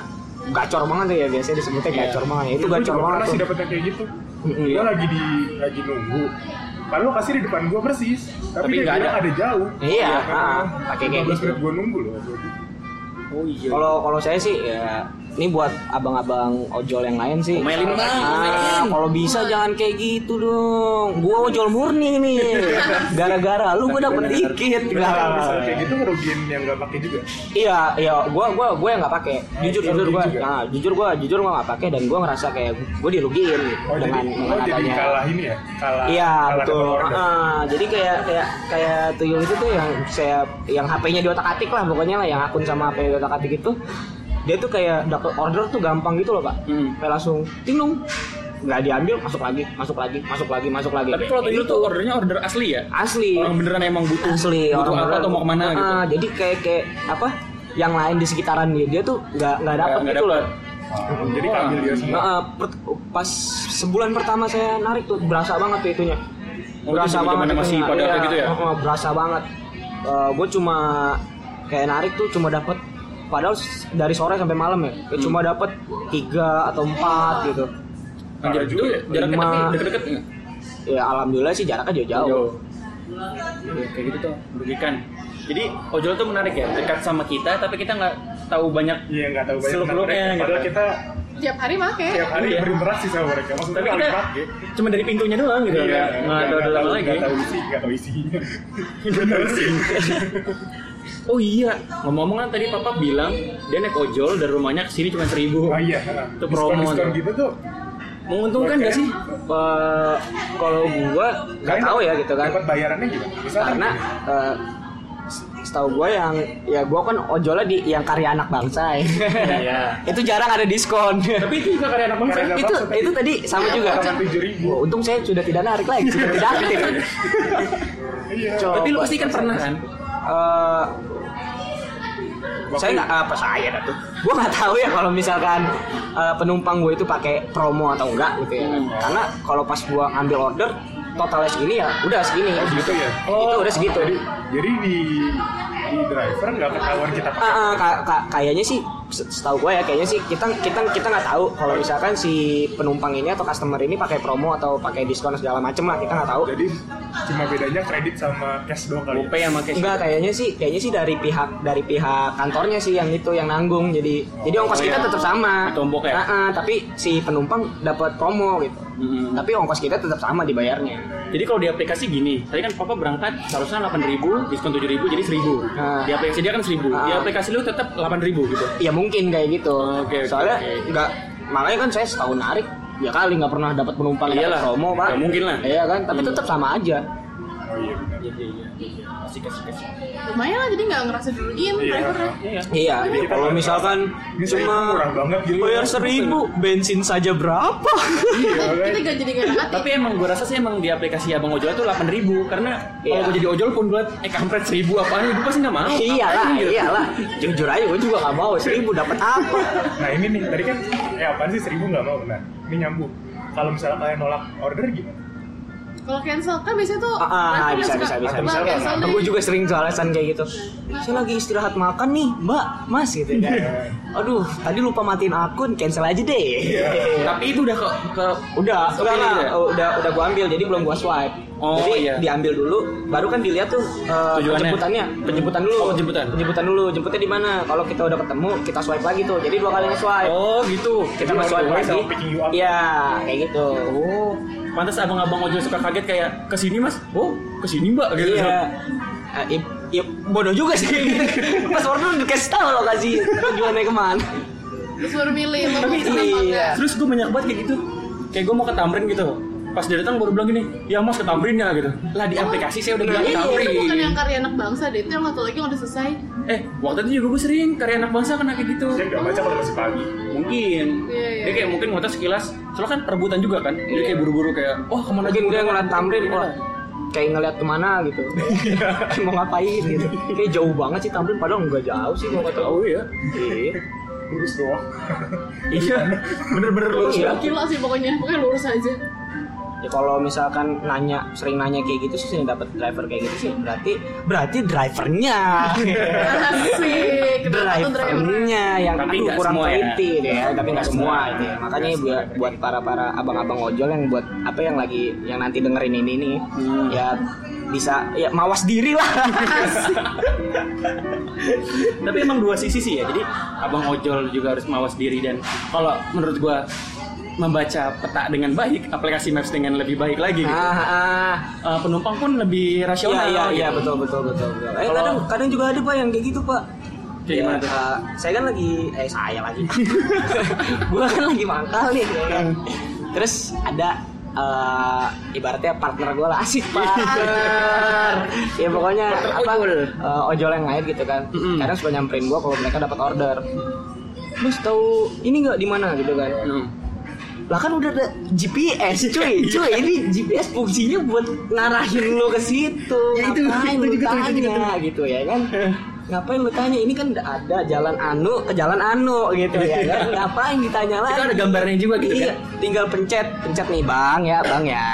gacor banget ya biasanya disebutnya
Iya.
gacor banget ya. itu
Gue
gacor
juga
banget
pernah
tuh
sih dapet yang kayak gitu.
Mm-mm,
Gue
iya.
lagi di lagi nunggu. Padahal lokasi di depan gue persis,
Tapi
tapi, dia
nggak
bilang
ada.
ada jauh.
Iya, ah, pakai
Pakai
kayak
kayak
gitu.
menit gue nunggu loh.
Oh iya.
kalau kalau saya sih ya ini buat abang-abang ojol yang lain sih
Omelin, Bang,
ah, kalau bisa jangan kayak gitu dong gua ojol murni nih gara-gara lu gua dapet dikit Nah.
Kalau
Lah.
misalnya kayak gitu ngerugiin yang gak pakai juga.
Iya, iya, gua gua gua yang nggak pakai. Jujur
kalau
jujur gua.
jujur ya?
Nah, jujur gua jujur gua nggak pakai dan gua ngerasa kayak gua dirugiin
Oh
dengan
jadi,
dengan
oh, jadi
adanya.
kalah ini ya? Kalah.
Iya,
kalah
betul.
double order.
Ah, jadi kayak kayak kayak tuyul itu tuh yang saya yang HP-nya diotak-atik lah pokoknya lah yang akun sama HP diotak-atik itu dia tuh kayak dapet order tuh gampang gitu loh, Pak.
Hmm.
Kayak langsung tinglung nggak diambil masuk lagi masuk lagi masuk lagi masuk lagi
Tapi kalau tadi
Ini
lu tuh ordernya order asli ya?
asli
Orang beneran emang butuh
Nah, asli
butuh
orang
apa
orang-
atau mau kemana gitu?
Ah, jadi kayak kayak apa yang lain di sekitaran dia dia tuh nggak nggak dapat
Nggak- nggak
gitu loh
dapet.
Oh, jadi kambil dia semua.
Nah, eh, per- pas sebulan pertama saya narik tuh berasa banget tuh itunya
Oh, itu
berasa
zaman-
banget
zaman masih
itunya.
pada
Iya,
kayak gitu ya?
eh, eh, berasa banget gue cuma kayak narik tuh cuma dapat padahal s- dari sore sampai malam ya,
Hmm.
ya cuma dapat tiga atau empat gitu
Anjir,
Parah
itu
juga ya.
jaraknya tapi
Lima.
deket-deket nggak?
ya alhamdulillah sih jaraknya jauh-jauh
Jauh. Ya, kayak gitu tuh merugikan. Jadi ojol tuh menarik ya, dekat sama kita tapi kita nggak tahu banyak
Iya nggak tahu banyak tentang
Seluk-beluknya
mereka. Padahal
gitu.
kita
tiap hari make
tiap hari
Iya.
berinteraksi sama mereka. Maksudnya
tapi
paling
kita
pakai.
cuma dari pintunya doang gitu
Iya,
nggak nggak ada
nggak
dalam
tahu-
lagi
nggak tahu isi, nggak tahu isinya.
oh iya ngomong-ngomong kan tadi papa bilang dia naik ojol dari rumahnya ke sini cuma seribu
Oh iya,
Itu promo
diskon
tuh.
gitu tuh
menguntungkan nggak sih
Eh, kalau gue nggak tahu ya gitu kan
Dapat bayarannya juga. Misalnya
karena eh, setahu gue yang ya gue kan ojolnya di yang karya anak bangsa ya.
Iya.
itu jarang ada diskon
tapi itu juga karya anak bangsa Iya,
Karya anak
itu kan. itu tadi sama juga
Sama 7.000.
Wah, untung saya sudah tidak narik lagi sudah tidak aktif
Iya.
Coba.
tapi lu pasti kan pernah kan
Eh, saya nggak apa saya dah tuh gue nggak tahu ya kalau misalkan eh, penumpang gue itu pakai promo atau enggak gitu ya
Hmm.
karena kalau pas gue ambil order totalnya segini ya udah segini
Oh gitu ya.
itu
Oh.
udah segitu
Jadi, jadi di di driver nggak ketahuan kita pakai.
Ah, ah, ka- ka- kayaknya sih se- setahu gue ya kayaknya sih kita kita kita nggak tahu kalau misalkan si penumpang ini atau customer ini pakai promo atau pakai diskon segala macem lah kita nggak tahu
Jadi cuma bedanya kredit sama cash doang kali. ya.
gopay sama cash
enggak kayaknya sih kayaknya sih dari pihak dari pihak kantornya sih yang itu yang nanggung jadi jadi ongkos
Oh,
kita
iya.
tetap sama
Ditombok ya?
Ah, ah, tapi si penumpang dapat promo gitu
Mm-mm.
tapi ongkos kita tetap sama dibayarnya
Hmm. jadi kalau di aplikasi gini, tadi kan papa berangkat seharusnya 8.000, diskon 7.000 jadi 1.000.
Ah.
Di aplikasi dia kan 1.000. Di
Ah.
aplikasi lu tetap 8.000 gitu.
ya mungkin kayak gitu
Oke, oke,
soalnya
oke.
nggak makanya kan saya setahun narik ya kali nggak pernah dapat penumpang dapat
Iyalah,
promo pak
nggak mungkin lah.
iya kan tapi
Hmm.
tetap sama aja
Oh iya benar.
Iya, iya, iya. Asik, asik, asik.
lumayan lah jadi nggak ngerasa dirugiin
Iya.
drivernya
Iya.
Iya,
Jadi kita
kalau
nggak
misalkan
Ini seribu
cuma
murah banget gitu.
bayar seribu, bensin saja berapa?
kita
Iya,
kita gak jadi nggak enak hati
Tapi emang gue rasa sih emang di aplikasi Abang Ojol itu 8000 karena kalau
Iya.
gue jadi ojol pun gue eh kampret 1000 apaan gue pasti nggak mau.
iyalah,
Apaan gitu.
iyalah. Jujur aja, gue juga gak mau seribu dapat apa?
Nah ini nih tadi kan eh apaan sih seribu nggak mau nah ini nyambung. Kalau misalnya kalian nolak order gimana?
kalau cancel kan biasanya tuh
Ah, ah,
driver
bisa,
yang
bisa,
suka,
bisa,
"Mbak,
bisa, Bang."
cancel deh."
gue juga sering tuh alasan kayak gitu. Saya lagi istirahat makan nih, Mbak, Mas gitu kan. Aduh, tadi lupa matiin akun, cancel aja deh. Iya.
Tapi itu udah ke, ke
Udah,
Oke,
enggak,
gitu
enggak, Oh,
ya?
udah udah gue ambil, jadi belum gue swipe.
Oh,
jadi
iya.
diambil dulu, baru kan dilihat tuh eh,
Tujuannya?
penjemputannya, penjemputan dulu,
Oh, penjemputan.
penjemputan dulu, jemputnya di mana? Kalau kita udah ketemu, kita swipe lagi tuh, jadi dua kali nge swipe.
Oh gitu.
Jadi
kita nggak swipe
orang-orang
lagi
sama picking you up.
iya kayak gitu
Oh, pantas abang-abang ojol suka kaget kayak ke sini Mas. Oh, ke sini Mbak gitu.
iya Ah, i- i- bodoh juga sih pas order udah kasih tahu lokasi tujuannya kemana
terus baru milih mau
Tapi
cancel apa
iya.
enggak.
Terus gue banyak banget kayak gitu. Kayak gue mau ke Tamrin gitu. Pas dia datang baru bilang gini, "Ya Mas ke Tamrin ya" gitu. Lah di aplikasi saya udah bilang ke
Iya,
Tamrin.
itu bukan yang karya anak bangsa deh, itu yang satu lagi yang udah selesai
Eh, waktu itu juga gue sering karya anak bangsa kena kayak gitu.
Saya nggak baca kalau masih pagi.
mungkin
Iya, iya.
dia kayak mungkin ngotot sekilas soalnya kan perebutan juga kan jadi kayak buru-buru kayak wah kemana
mungkin
aja
dia
gua?"
ngeliat tamrin
Iya.
wah kayak ngeliat kemana gitu mau ngapain gitu
Iya.
kayak jauh banget sih tamrin padahal nggak jauh sih kalau kata
tahu ya
Iya.
Lurus doang.
iya bener-bener lu
Iya.
gila sih pokoknya, pokoknya lurus aja
Ya, kalau misalkan nanya sering nanya kayak gitu sih sering dapat driver kayak gitu sih berarti berarti drivernya
Iya.
asik kenapa tuh drivernya
drivernya yang
Tapi
aduh,
nggak
kurang
semua ya.
teliti deh ya. tapi nggak
Nggak
semua
semua.
gitu ya. makanya
Nggak
buat
semua.
buat para para abang-abang ojol yang buat apa yang lagi yang nanti dengerin ini nih
Hmm.
ya bisa ya mawas diri lah
tapi emang dua sisi sih ya jadi abang ojol juga harus mawas diri dan kalau menurut gua membaca peta dengan baik aplikasi maps dengan lebih baik lagi gitu.
ah, ah.
Eh, penumpang pun lebih
iya
rasional
iya
gitu.
iya betul betul betul, betul. Eh,
Kalau-
kadang kadang juga ada pak yang kayak gitu pak
Kayak gimana tuh?
eh, saya kan lagi eh saya lagi gua kan lagi mangkal nih ya
Hmm.
kan. terus ada eh, ibaratnya partner gue lah asik partner ya pokoknya
Iya. Partner Hmm.
apa
ojol.
eh, ojol yang lain gitu kan
Mm-mm.
kadang suka nyamperin gue kalau mereka dapat order Mas tahu ini nggak di mana gitu kan
Hmm.
Lah kan udah ada GPS cuy,
Iya.
cuy ini GPS fungsinya buat ngarahin lo ke situ.
Ya, itu-
Ngapain
itu
lu
juga tuh, Iya. itu juga
tanya gitu ya kan? Ngapain lu tanya ini kan udah ada jalan anu ke jalan anu gitu ya kan? Ngapain ditanya lagi?
Itu ada gambarnya juga gitu
Iya,
kan?
tinggal pencet, pencet nih bang ya, bang ya.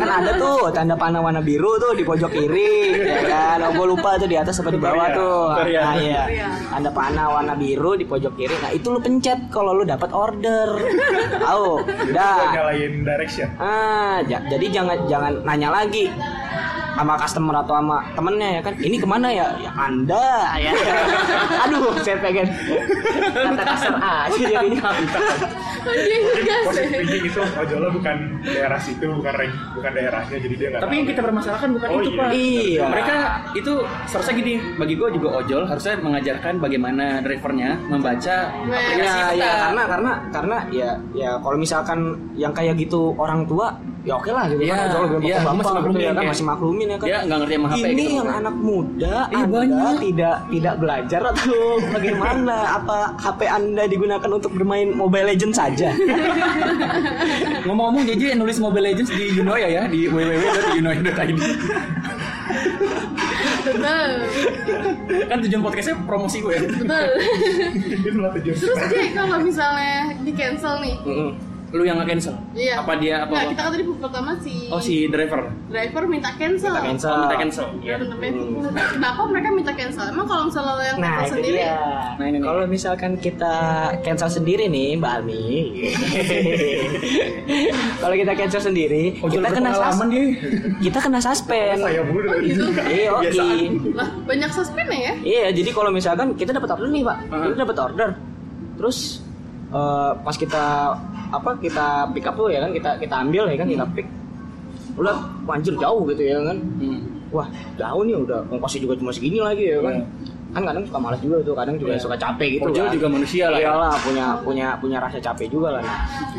Kan ada tuh tanda panah warna biru tuh di pojok kiri, ya kan? Oh, gue lupa tuh di atas apa di bawah
Korea.
tuh.
Korea.
Nah, iya.
Korea.
Tanda panah warna biru di pojok kiri. Nah itu lu pencet kalau lu dapat order. Tahu?
Bukan
Udah.
nyalain direction.
Ah, ja- jadi jangan jangan nanya lagi sama customer atau sama temennya ya kan ini kemana ya ya anda ya aduh saya pengen kata "Ah, kasar aja jadinya
Kan dia ngegas
Positif
ya.
thinking Oh, itu ojolnya bukan daerah situ, bukan rank- bukan daerahnya, jadi dia nggak.
Tapi
tahu.
yang kita permasalahkan bukan
Oh,
itu
iya.
pak.
Iya.
Mereka itu seharusnya gini. Bagi gue juga ojol harusnya mengajarkan bagaimana drivernya membaca
Nah,
aplikasi
ya,
kita.
ya karena karena karena ya ya kalau misalkan yang kayak gitu orang tua ya oke lah gitu
Ya,
kan jauh lebih
ya,
bapak
masih
gitu ya
maklumin
kan
ya.
masih maklumin ya kan
Dia nggak ngerti sama HP
ini
gitu,
yang
kan.
anak muda
Iya,
anda
banyak.
tidak tidak belajar atau bagaimana apa HP anda digunakan untuk bermain Mobile Legends saja
Ngomong-ngomong JJ yang nulis Mobile Legends di Yunoya ya di www.yunoya.id.
Betul.
kan tujuan podcastnya promosi ya. gue.
Betul.
Itu malah tujuan.
iya, Terus J kalau misalnya di cancel nih.
Lu yang nggak cancel?
Iya.
Apa dia apa?
Nggak, kita kan tadi pertama si
Oh si driver.
driver minta cancel.
Minta cancel.
Oh, minta cancel. Iya.
Dan namanya- Kenapa mereka minta cancel? Emang kalau misalnya lo yang
Nah
cancel
itu
sendiri,
dia.
Nah, ini nih.
Kalau misalkan kita cancel sendiri nih Mbak Almi Kalau kita cancel sendiri
Ojol
Kita kena
Oh, berpengalaman
suspend
dia. ya?
Kita kena suspend
Saya mulu dari
gitu.
dulu.
Iya, oke.
Kebiasaan.
lah banyak suspend ya.
Iya, jadi kalau misalkan kita dapat order nih, Pak.
Heeh.
Kita dapat order. Terus eh, pas kita apa kita pick up tuh ya kan kita kita ambil ya kan kita pick. Udah anjir jauh gitu ya kan.
Hmm.
Wah, jauh nih udah ongkosnya juga cuma segini lagi ya kan. Kan kadang suka malas juga tuh, kadang
Hmm.
juga
Iya.
suka capek gitu.
Ojol
kan.
juga manusia lah ya.
Iyalah, punya punya punya rasa capek juga lah. Nah,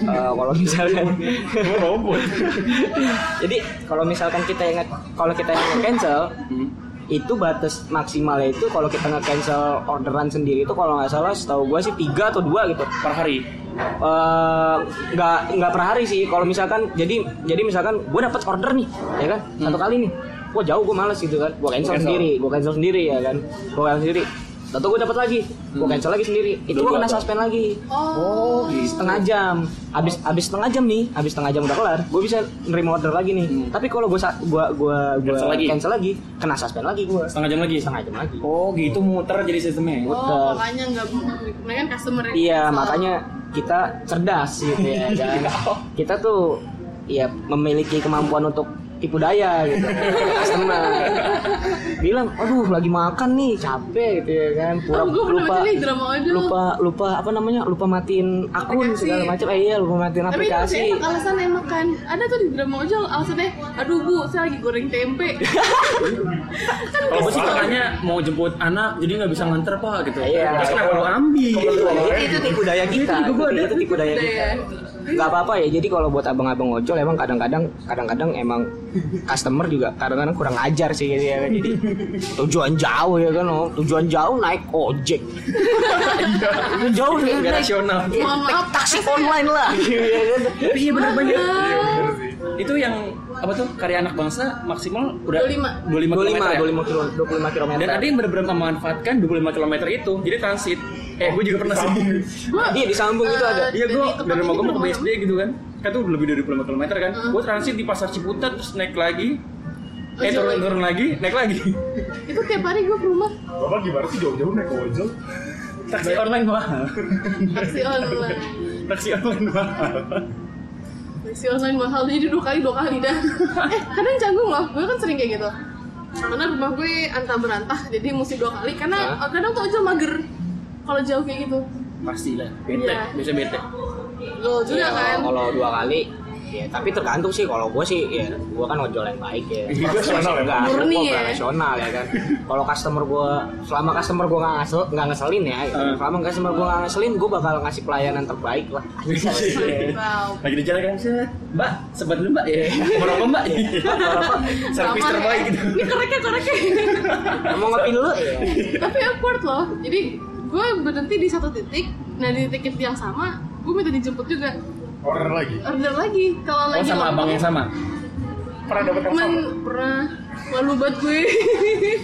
eh, kalau misalkan
Gua robot.
jadi kalau misalkan kita ingat kalau kita yang cancel
Hmm.
itu batas maksimalnya itu kalau kita nge-cancel orderan sendiri itu kalau nggak salah setahu gua sih tiga atau dua gitu
Per hari.
Eh, nggak nggak per hari sih kalau misalkan jadi jadi misalkan gua dapat order nih ya kan satu kali nih gua jauh gua males gitu kan gua
Hmm.
cancel,
Cancel.
sendiri gua cancel sendiri ya kan gua cancel sendiri atau gua dapat lagi gua
Hmm.
cancel lagi sendiri itu gua
Dua-dua
kena
apa?
suspend lagi
Oh,
setengah jam habis habis setengah jam nih habis setengah jam udah kelar gue bisa nerima order lagi nih
Hmm.
tapi kalau gue gua gua gua
Cancel lagi?
cancel lagi kena suspend lagi gue
Setengah jam lagi.
setengah jam lagi
Oh gitu muter jadi sistemnya.
Betul.
oh makanya nggak mereka kan customer yang
iya
cancel.
makanya kita cerdas gitu ya kan
Iya.
kita tuh ya memiliki kemampuan untuk tipu daya gitu customer bilang aduh lagi makan nih capek gitu ya kan pura
Oh, gue pernah
lupa
baca nih drama Odol.
lupa lupa apa namanya lupa matiin akun
Aplikasi.
segala macam eh, iya lupa matiin
Tapi itu
aplikasi
masih enak alasannya makan. Ada tuh di drama ojol alasannya, aduh bu, saya lagi goreng tempe. kan
Kalau gue sih
Kesel.
katanya mau jemput anak jadi nggak bisa nganter pak gitu.
Iya.
Terus kenapa lo ambil?
Iya, itu, itu tipu daya kita.
Itu tipu gua ada.
itu tipu daya kita.
budaya.
Gak apa-apa ya. Jadi kalau buat abang-abang ojol emang kadang-kadang kadang-kadang emang customer juga kadang-kadang kurang ajar sih gitu ya. kan. Jadi tujuan jauh ya kan. oh. Tujuan jauh naik ojek. Itu jauh ya.
Gak
naik-
rasional.
Mohon maaf,
naik taksi online lah. Gitu ya kan.
Iya bener banget.
Bener sih.
Itu yang apa tuh karya anak bangsa maksimal udah
25.
25 km.
25
ya?
25 kilo 25 km.
Dan ada yang benar-benar memanfaatkan 25 km itu. Jadi transit. Eh, gue juga pernah sih.
Iya disambung itu ada.
Iya, gue dari
Dari eh, tempat
rumah
ini
gue mau
ke
ke
rumah
BSD gitu kan. Kan tuh lebih dari 25 km kan. Gue transit di Pasar Ciputat terus naik lagi. Eh,
Ujung Oh, lagi.
turun-turun lagi, naik lagi.
itu tiap hari gue ke rumah
Bapak gimana sih jauh-jauh naik ojol?
Taksi online mahal.
taksi online.
Taksi online mahal.
Taksi online mahal jadi dua kali dua kali dah. eh kadang canggung loh, gue kan sering kayak gitu. Karena rumah gue antah berantah, jadi mesti dua kali. Karena eh,
Hah?
kadang tuh ojol mager kalau jauh kayak gitu.
Pasti lah, bete.
Iya.
Biasa bete.
Lo juga
Iya,
kan.
Kalau dua kali ya tapi tergantung sih kalau gue sih ya gue kan ojol yang baik ya
Iya, profesional ya,
Enggak,
Pak. Murni
gue
ya.
profesional ya kan kalau customer gue selama customer gue nggak ngasel nggak ngeselin ya gitu.
Hmm.
selama customer gue nggak ngeselin gue bakal ngasih pelayanan terbaik lah
Wow.
Lagi di jalan kan, set. Mbak, sebat dulu mbak ya. Mau rokok mbak? Iya. Mau rokok. Servis
Sama,
terbaik
ya.
gitu.
Ini koreknya koreknya.
mau ngopi dulu ya
Tapi awkward loh. Jadi gue berhenti di satu titik, nah di titik yang sama gue minta dijemput juga.
order lagi
order lagi
Oh
kalau lagi
sama
lama.
abang yang sama.
pernah dapat yang
Men,
sama
pernah malu banget gue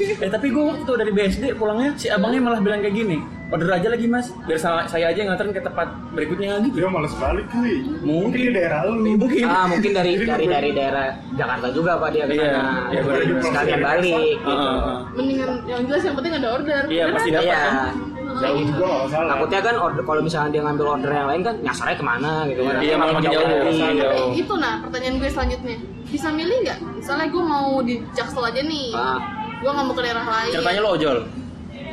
Iya.
Eh tapi gue waktu dari BSD pulangnya si abangnya malah bilang kayak gini, order aja lagi mas, biar sa- saya aja yang nganterin ke tempat berikutnya gitu.
Iya.
lagi.
dia malas balik kali
Mungkin.
di daerah lu
Mungkin.
Ah, mungkin dari dari dari daerah Jakarta juga Pak dia ke
Iya,
sana.
iya, benar, benar.
Sekalian balik
Ah,
gitu.
ah, ah.
mendingan yang jelas yang penting ada order
Iya
Beneran.
pasti dapat
Iya.
kan.
jauh juga nggak masalah
Takutnya kan order kalau misalnya dia ngambil order yang lain kan nyasarnya kemana gitu kan.
Iya, malah makin jauh, makin
Tapi
jauh.
itu nah pertanyaan gue selanjutnya bisa milih nggak misalnya gue mau di jaksel aja nih
Ah.
gue nggak mau ke daerah lain
Ceritanya lo Ah. ojol.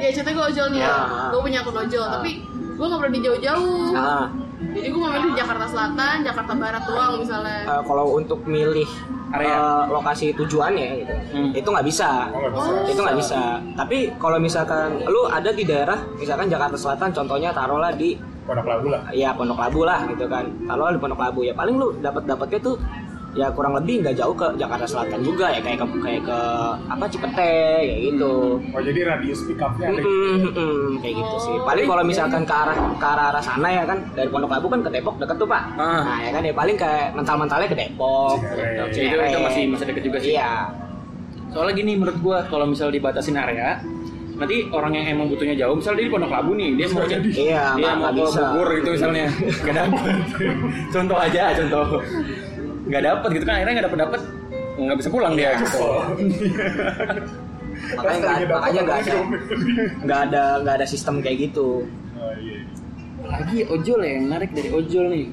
ya ceritanya gue ojol nih
Ya.
gue punya akun ojol
Ah.
tapi gue nggak pernah di jauh-jauh
Ah.
Nah,
jadi gue mau milih Jakarta Selatan Jakarta Barat doang misalnya
eh, kalau untuk milih
Area.
eh, lokasi tujuannya gitu,
Hmm.
itu nggak bisa.
Oh, nggak bisa.
Oh.
Itu nggak bisa. Tapi kalau misalkan lu ada di daerah, misalkan Jakarta Selatan, contohnya taruhlah di
Pondok Labu lah
ya Pondok Labu lah gitu kan. Taruhlah di Pondok Labu ya paling lu dapat dapatnya tuh ya kurang lebih nggak jauh ke Jakarta Selatan juga ya kayak ke kayak ke apa Cipete kayak gitu.
oh jadi radius pick up-nya ada
Mm-mm, mm-mm, kayak gitu sih. Paling kalau misalkan ke arah ke arah arah sana ya kan dari Pondok Labu kan ke Depok deket tuh pak.
Ah.
Nah ya kan ya paling kayak mental-mentalnya ke Depok.
Cireng.
Jadi
gitu,
itu- itu
Cireng.
masih masih deket juga sih.
Iya.
Soalnya gini menurut gua kalau misal dibatasin area, nanti orang yang emang butuhnya jauh, misal dia di Pondok Labu nih, dia mau jadi
Iya,
dia
nggak-
mau
nggak
ke
bisa.
Bogor gitu misalnya, nggak dapet. contoh aja, contoh. Nggak dapet gitu kan, akhirnya nggak dapet dapet, nggak bisa pulang dia gitu.
Makanya nggak makanya nggak ada nggak ada nggak ada sistem kayak gitu.
Oh, iya.
Lagi ojol ya, yang menarik dari ojol nih.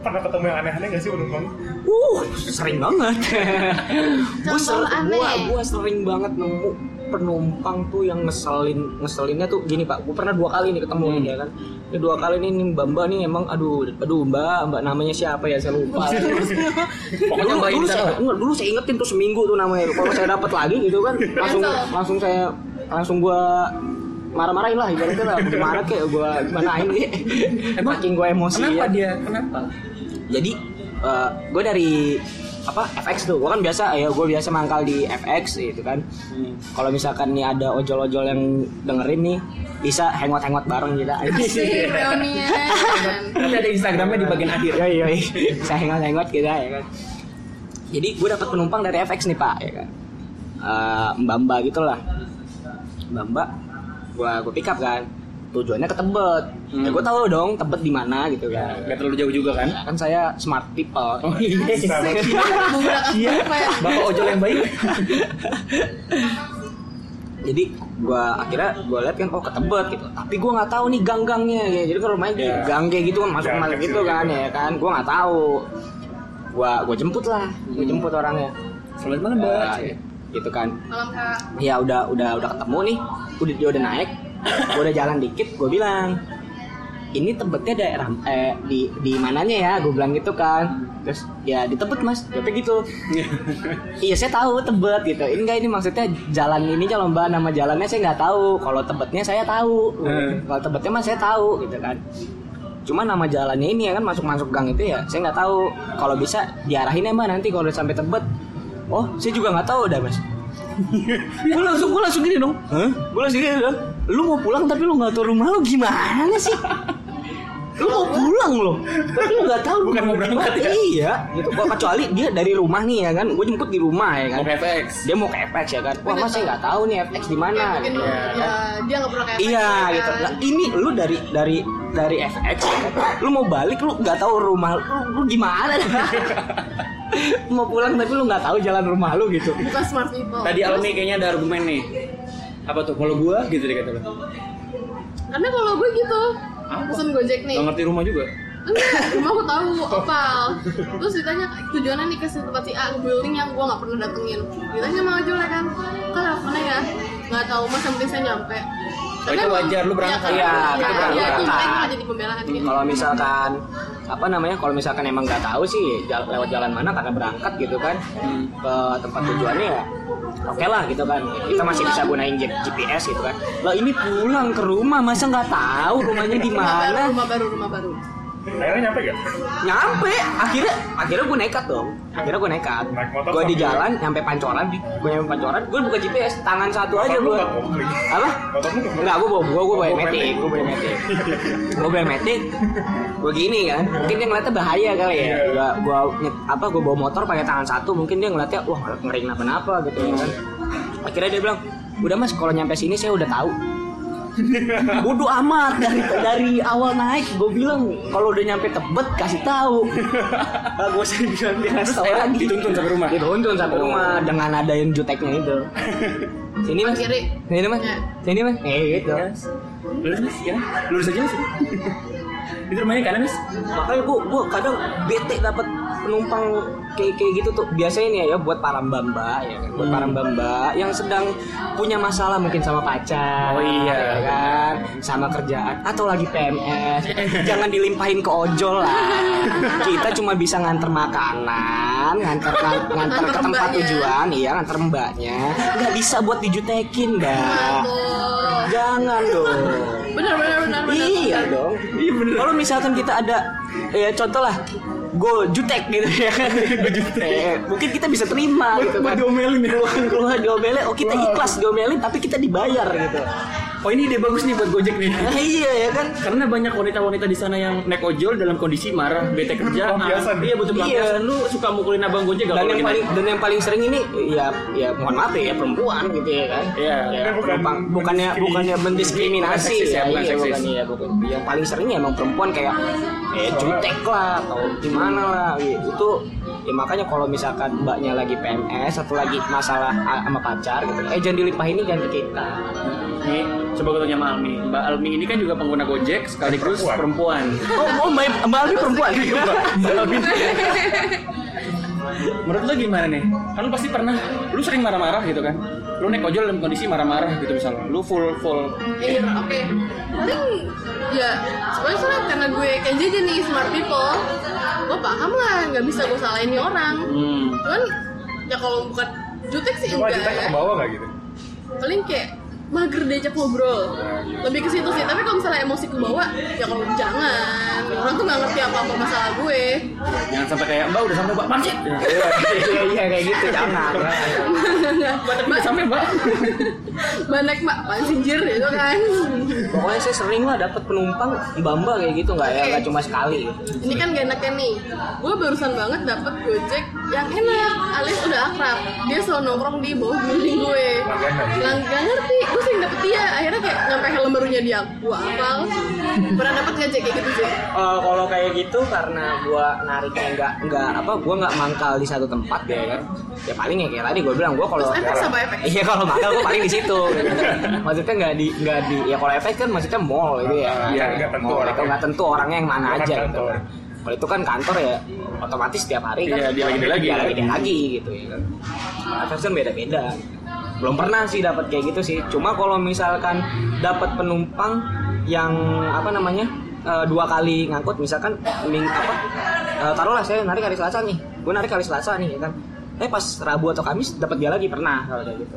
pernah ketemu yang aneh-aneh nggak sih menurut kamu
Uh, sering banget. gua,
Contoh
ser-
aneh.
gua, gua sering banget nemu penumpang tuh yang ngeselin ngeselinnya tuh gini pak gue pernah dua kali nih ketemu
Hmm.
nih ya kan ini dua kali nih, nih mbak mbak nih emang aduh aduh mbak mbak namanya siapa ya saya lupa
Pokoknya
dulu,
mbak
dulu
Intan
saya
lah.
enggak, dulu saya ingetin tuh seminggu tuh namanya kalau saya dapat lagi gitu kan langsung
Cancel.
langsung saya langsung gua marah-marahin lah ibaratnya lah gimana kek gua gimanain kek
Emang-
makin gua emosi
Eh, Kenapa
ya
dia? Kenapa?
jadi gue dari apa FX tuh gue kan biasa ya gue biasa mangkal di FX gitu kan
Hmm.
kalau misalkan nih ada ojol-ojol yang dengerin nih bisa hangout-hangout bareng gitu. kita
sih reunian
Nanti ada Instagramnya di bagian akhir.
yoi yoi Iya, bisa hangout-hangout kita ya kan jadi gue dapat penumpang dari FX nih pak ya kan Eh, mbak-mbak gitu lah mbak-mbak gue gue pick up kan tujuannya ke Tebet ya
Hmm.
gue tahu dong Tebet di mana gitu kan
Nggak terlalu jauh juga kan?
kan saya smart people
Oh iya.
menggunakan
Iya.
ya
Bapak ojol yang baik.
jadi gua akhirnya gua lihat kan oh ketebet gitu tapi gua nggak tahu nih gang-gangnya ya jadi kalau main di
Ya.
gang kayak gitu kan masuk
Gang
masuk
kecil
gitu kan
gitu.
ya kan gua nggak tahu gua gua jemput lah gua jemput orangnya
Selamat malam, Mbak.
Nah, gitu kan
malam kak
ya udah udah udah ketemu nih udah dia udah naik gua udah jalan dikit gua bilang ini tebetnya daerah eh, di di mananya ya gua bilang gitu kan terus ya di tebet mas tapi gitu Iya saya tahu Tebet gitu. Ini enggak ini maksudnya jalan ini kalau mbak nama jalannya saya nggak tahu. Kalau Tebetnya saya tahu.
Hmm.
Kalau Tebetnya mah saya tahu gitu kan. Cuma nama jalannya ini ya kan masuk-masuk gang itu ya saya nggak tahu. Kalau bisa diarahin ya mbak nanti kalau udah sampai Tebet. Oh saya juga nggak tahu udah mas. gue langsung gue langsung gini dong. Gue langsung gini dong. Lu mau pulang tapi lu nggak tahu rumah lu gimana sih? lu mau pulang loh tapi lu nggak tahu
Bukan mau berangkat ya?
iya gitu Kok- kecuali dia dari rumah nih ya kan gue jemput di rumah ya kan
Mau ke FX.
dia mau ke FX ya kan wah
Bener,
mas saya
Pak.
nggak tahu nih FX di mana
ya, mungkin
gitu.
ya, dia nggak pernah kayak
iya gitu nah, ini lu dari dari dari FX ya kan? lu mau balik lu nggak tahu rumah lu, lu gimana mau pulang tapi lu nggak tahu jalan rumah lu gitu
bukan smart people
Tadi Almi kayaknya ada argumen nih. Apa tuh? Kalau gua gitu dia kata lo.
karena kalau gue gitu pesen gojek nih
Gak ngerti rumah juga.
enggak cuma gue tahu opal terus ditanya tujuannya nih ke tempat si A ke building yang gue nggak pernah datengin ditanya sama ojol ya kan kalau teleponnya ya nggak tahu mas yang penting saya nyampe
Oh, itu wajar, lu berangkat.
Iya,
Iya, kan?
itu
iya,
berangkat.
itu makanya nggak jadi pembelaan gitu.
kalau misalkan apa namanya kalau misalkan emang nggak tahu sih jal- lewat jalan mana karena berangkat gitu kan
Hmm.
ke tempat tujuannya ya oke lah gitu kan kita masih bisa gunain G- GPS gitu kan lah ini pulang ke rumah masa nggak tahu rumahnya di
Rumah baru, Ah.
mana
rumah baru, rumah baru.
Akhirnya nyampe gak?
nyampe akhirnya akhirnya gue nekat dong akhirnya gue nekat
Naik motor
gue di
sambil-
jalan nyampe pancoran di gue nyampe pancoran gue buka GPS tangan satu
Motor
aja
lu
gue
nggak kopling. Motor lu
apa
nggak kopling.
Enggak, gue bawa gue gue bawa
Oh, bawa
metik
metik.
gue bawa metik gue bawa metik gue gini kan mungkin dia ngeliatnya bahaya kali ya
Iya.
gue gue apa gue bawa motor pakai tangan satu mungkin dia ngeliatnya wah ngeri kenapa-napa gitu ya kan akhirnya dia bilang udah mas kalau nyampe sini saya udah tahu Bodoh amat dari dari awal naik gue bilang kalau udah nyampe tebet kasih tahu. gue sering bilang di restoran
Akhirnya
lagi.
dituntun sampai rumah?
Dituntun sampai
Oh.
rumah dengan ada yang juteknya itu. Sini mas.
Kiri.
Sini mas.
Ya.
Sini mas. Eh gitu.
Lurus mas, ya? Lurus aja mas. Itu rumahnya kanan mas.
Makanya gue gue kadang bete dapat penumpang kayak kayak gitu tuh biasanya nih ya buat para mbak mbak ya kan? buat para mbak mbak yang sedang punya masalah mungkin sama pacar
Oh, iya.
ya kan sama kerjaan atau lagi PMS jangan dilimpahin ke ojol lah kita cuma bisa nganter makanan nganter ngan- nganter
Nganter
ke tempat
mbaknya.
tujuan iya nganter mbaknya nggak bisa buat dijutekin mbak
Aduh.
jangan dong
Benar benar benar benar.
Iya dong. Kalau misalkan kita ada ya contoh lah go jutek gitu ya kan. Eh, mungkin kita bisa terima gitu kan.
diomelin ya.
Keluhan keluhan diomelin, oh kita ikhlas diomelin tapi kita dibayar gitu.
Oh ini ide bagus nih buat Gojek nih.
Nah, iya ya kan.
Karena banyak wanita-wanita di sana yang naik ojol dalam kondisi marah, bete kerjaan.
Pelampiasan.
Iya butuh
Iya.
pelampiasan. Lu suka mukulin abang Gojek gak?
Dan
kalau
yang
lagi
paling
naik?
dan yang paling sering ini ya ya mohon maaf ya perempuan gitu ya kan.
Iya.
Ya,
Ini bukan
bukan bukannya
mendiskriminasi.
bukannya mendiskriminasi
Bukan seksis ya,
ya,
bukan
iya,
seksis.
bukan, iya, bukan. Yang paling sering ya emang perempuan kayak eh jutek lah atau gimana lah gitu. itu ya makanya kalau misalkan mbaknya lagi PMS atau lagi masalah a- sama pacar gitu eh jangan dilimpahin ini jangan ke kita
Nih, coba gue tanya sama Almi. Mbak Almi ini kan juga pengguna Gojek sekaligus perempuan.
oh, oh mbak, mbak Almi perempuan
Mbak Almi. Menurut lo gimana nih? Kan lu pasti pernah, lu sering marah-marah gitu kan? Lu naik ojol dalam kondisi marah-marah gitu misalnya. Lu full full
Iya, oke. Paling ya sebenarnya sekarang karena gue kayak aja nih smart people, gue paham lah nggak bisa gue salahin nih orang.
hmm.
Cuman ya kalau bukan jutek sih
Cuma
enggak
kita ke
ya.
bawah gak gitu?
Paling kayak mager diajak ngobrol. Lebih ke situ sih. Tapi kalau misalnya emosi ke bawah, ya kalau jangan. Orang tuh nggak ngerti apa apa masalah gue.
Jangan sampai kayak Mbak udah sampai Mbak masih.
iya iya kayak gitu jangan
Mbak tapi udah sampai Mbak.
Banyak mak, apaan sih jir gitu kan.
pokoknya saya sering lah dapat penumpang mbak mbak kayak gitu nggak ya
Oke.
nggak cuma sekali
Ini kan gak enaknya nih. Gue barusan banget dapet gojek yang enak, alias udah akrab. Dia selalu nongkrong di bawah building gue.
Langganan.
Lang gak ngerti, gue sering dapet dia. Akhirnya kayak nyampe helm barunya dia. Gue apal. Pernah dapet gak Jack, kayak gitu sih?
Eh, kalau kayak gitu karena gua nariknya nggak nggak apa gua nggak mangkal di satu tempat ya kan ya paling ya kayak tadi gua bilang gua kalau
Terus efek sama efek?
iya kalau mangkal gua paling di situ gitu. maksudnya nggak di nggak di ya kalau efek kan maksudnya mall gitu ya
Iya, nggak tentu
Mall,
orangnya.
nggak tentu orangnya yang mana
Bukan
aja gitu
kantor.
kalau itu kan kantor ya otomatis tiap hari kan
Iya, dia lagi, dia lagi.
dia lagi, dia lagi gitu ya kan fashion beda-beda belum pernah sih dapat kayak gitu sih cuma kalau misalkan dapat penumpang yang apa namanya eh, dua kali ngangkut misalkan ming apa eh, taruhlah saya narik hari Selasa nih gue narik hari Selasa nih ya kan eh pas Rabu atau Kamis dapat dia lagi pernah kalau kayak gitu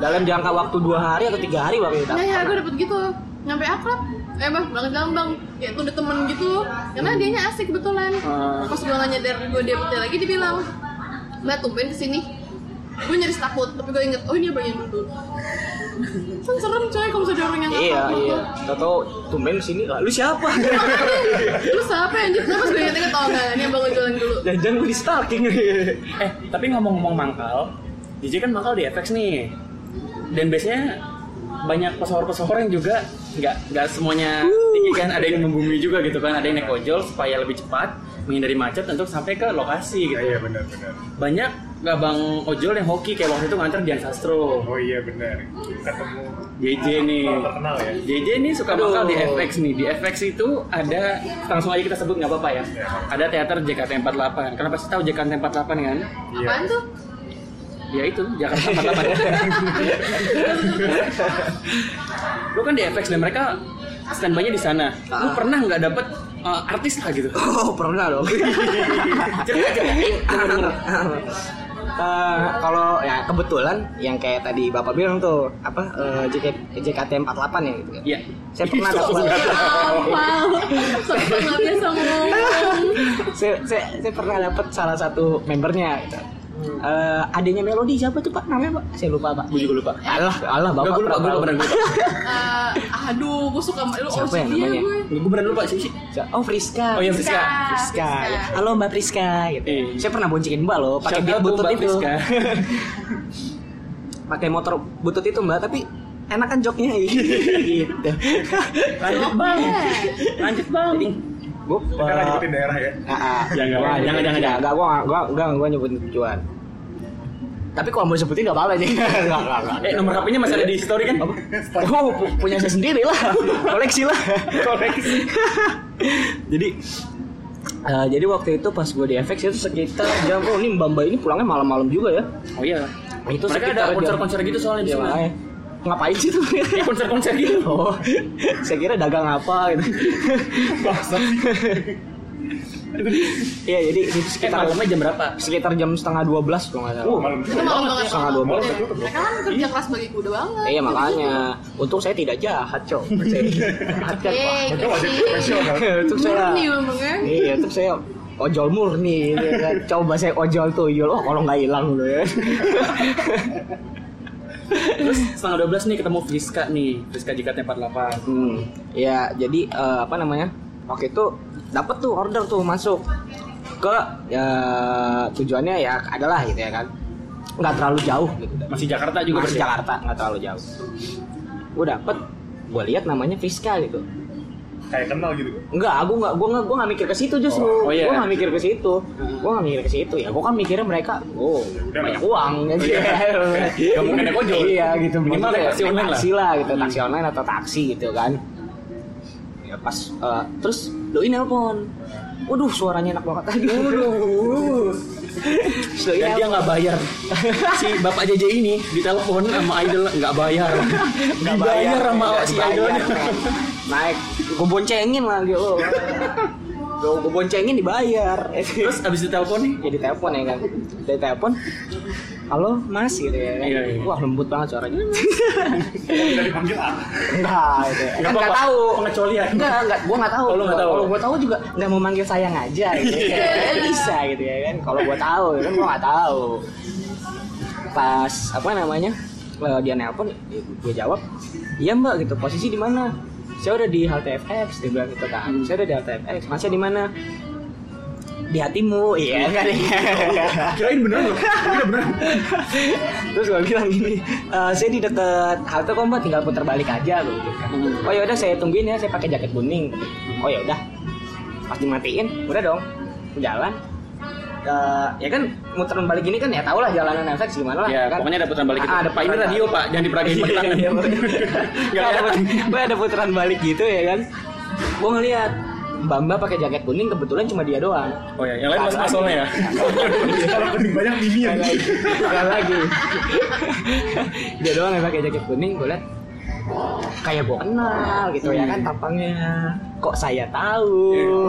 dalam jangka waktu dua hari atau tiga hari waktu itu
Nah ya, gue dapet gitu. Nyampe akrab. Eh bang, banget gambang. Kayak tuh udah temen gitu. Karena
Hmm.
dianya asik kebetulan.
Ah.
Pas gue nanya dari gue dia dia lagi, dia bilang, Mbak tumben kesini. Gue nyaris takut, tapi gue inget, oh ini abang yang dulu. Kan serem coy kalau misalnya ada orang yang
iya
ngakak gitu.
iya atau tumben sini lah lu siapa
Lu siapa anjir? Kenapa gue inget-inget tau gak? Ini abang jualan dulu.
jangan gue di stalking
Eh, tapi ngomong-ngomong mangkal, DJ kan mangkal di FX nih. Dan biasanya banyak pesohor-pesohor yang juga nggak nggak semuanya tinggi kan ada yang membumi juga gitu kan ada yang naik ojol supaya lebih cepat menghindari macet untuk sampai ke
Iya
lokasi gitu
iya benar benar.
banyak nggak bang ojol yang hoki kayak waktu itu nganter Dian Sastro
Oh iya benar. Ketemu
JJ nih
orang terkenal ya.
JJ ini suka
Aduh.
mangkal di FX nih. Di FX itu ada langsung aja kita sebut nggak apa-apa ya. Ada teater JKT48. Karena pasti tahu JKT48 kan?
Iya.
Apaan tuh?
Ya itu, Jakarta 48. Lu kan di FX dan mereka standby-nya di sana. Lu
Ah.
pernah nggak dapet eh, artis lah gitu?
Oh pernah dong.
Cerita ceritain.
Eh, kalau ya kebetulan yang kayak tadi bapak bilang tuh apa eh, JK, JKT48 ya gitu ya.
Iya.
Saya pernah
Itu
dapat
langsung datang.
Apal. Sampai nggak biasa ngomong.
saya, saya, saya pernah dapat salah satu membernya gitu. Eh, adanya Melody siapa tuh pak namanya pak? Saya lupa pak. Gue juga lupa. Allah, Allah
Enggak,
bapak.
gue lupa, gue lupa, beneran, gue lupa.
Eh, aduh, gue suka sama lu
Siapa
OCD
yang
ya
namanya?
gue.
Gue beneran lupa sih sih.
Oh Friska.
Oh iya, Friska.
Friska.
Friska.
ya. Halo Mbak Friska gitu.
Iya.
Saya pernah boncengin Mbak loh pakai
Shout
beat
out to
butut
Mbak
itu.
Friska.
Pakai motor butut itu Mbak tapi enak kan joknya gitu.
Lanjut bang, lanjut bang.
Gue
Kita nggak nyebutin daerah ya.
Ah, ah.
Ya, enggak,
Wah,
jangan,
ini-
jangan, jangan.
Enggak, gua gua enggak gua nyebutin tujuan. Tapi kalau mau sebutin enggak apa-apa sih. Enggak, enggak, enggak.
Eh nomor HP-nya masih ada di story kan?
Oh, pu- punya saya sendiri lah. Koleksi lah.
Koleksi.
jadi eh, jadi waktu itu pas gue di FX itu sekitar jam oh ini Mbak Mbak ini pulangnya malam-malam juga ya.
Oh iya.
Itu
Mereka
sekitar
ada
jam-
konser-konser gitu soalnya di
Iya,
sana.
makanya. Ngapain sih tuh?
Ya konser-konser gitu.
oh, saya kira dagang apa gitu. Iya, jadi itu
Eh
sekitar
malamnya jam berapa?
sekitar jam setengah 12 kalau nggak salah.
Oh, malam
Itu malam banget.
Sangat dua
belas.
Iya. Mereka kan kerja keras bagi kuda banget.
Iya makanya, untung saya tidak jahat cok. Saya jahat kan, Pak.
Eh,
Itu masih
kasih.
profesional.
Untung saya,
Murni memangnya.
iya untung saya ojol murni. gitu kan. Coba saya ojol tuyul, oh kalau nggak hilang dulu ya.
Terus setengah 12 nih ketemu Friska nih, Friska JKT 48.
Hmm, ya jadi eh, apa namanya? Waktu itu dapat tuh order tuh masuk ke ya, tujuannya ya adalah gitu ya kan, nggak terlalu jauh gitu.
Masih Jakarta juga
juga masih
berarti.
Jakarta nggak terlalu jauh gue dapet gue lihat namanya Friska gitu
Kayak kenal gitu.
Enggak, aku enggak, gue enggak, gue enggak mikir ke situ justru.
Oh, oh iya.
Gue enggak mikir ke situ. Gue enggak mikir ke situ. Ya, gue kan mikirnya mereka, oh,
udah
banyak uang. Iya.
Ya, mungkin naik ojol.
Iya, gitu.
Minimal
Maksudnya
naik taksi
naik
online lah. Hmm.
Taksi lah, gitu. Taksi online atau taksi gitu kan. Ya pas, eh, terus doi nelpon. Waduh, suaranya enak banget tadi. Waduh.
Dan dia nggak bayar. si Bapak JJ ini ditelepon sama idol nggak bayar.
Nggak
Nggak bayar sama
nggak
si
dibayar.
idolnya.
naik gue boncengin lah gitu gue boncengin dibayar
Terus
terus
abis ditelepon nih,
jadi telepon ya kan dari telepon halo mas gitu ya kan.
Iya, iya.
wah lembut banget suaranya
Kita dipanggil A.
enggak gitu
Nggak
kan nggak
apa-apa,
tahu
pengecualian.
enggak enggak gue nggak tahu
Oh, lu nggak tahu. Iya.
kalau gue tahu juga nggak mau manggil sayang aja gitu ya kan. bisa gitu ya kan kalau gue tahu ya kan gue nggak tahu pas apa namanya eh, dia nelpon gue jawab iya mbak gitu posisi di mana saya udah di halte FX dia bilang gitu kan saya udah di halte FX masnya di mana di hatimu
Oh,
iya kan
kirain bener loh. Kira bener.
terus gue bilang gini "Eh, saya di dekat halte kok mbak tinggal putar balik aja gue gitu kan.
Hmm.
oh yaudah saya tungguin ya saya pakai jaket kuning oh yaudah pas dimatiin udah dong jalan Eh, ya kan muter balik ini kan ya tau lah jalanan efek gimana lah
Ya,
kan?
pokoknya ada putaran balik
Ah,
itu. Pak, ini
putaran
radio, Pak. Jangan diperagain pakai tangan.
Iya, Pak.
Nggak
ada,
kelihatan.
put- Pak, ada putaran balik gitu ya kan gue ngeliat Mbak Mbak pakai jaket kuning kebetulan cuma dia doang.
Oh ya, yang lain mas masolnya ya.
Kalau kuning banyak
Ada
dimian.
lagi. Ada lagi. dia doang yang pakai jaket kuning, gue liat kayak gue kenal gitu ya kan tampangnya. Kok saya tahu?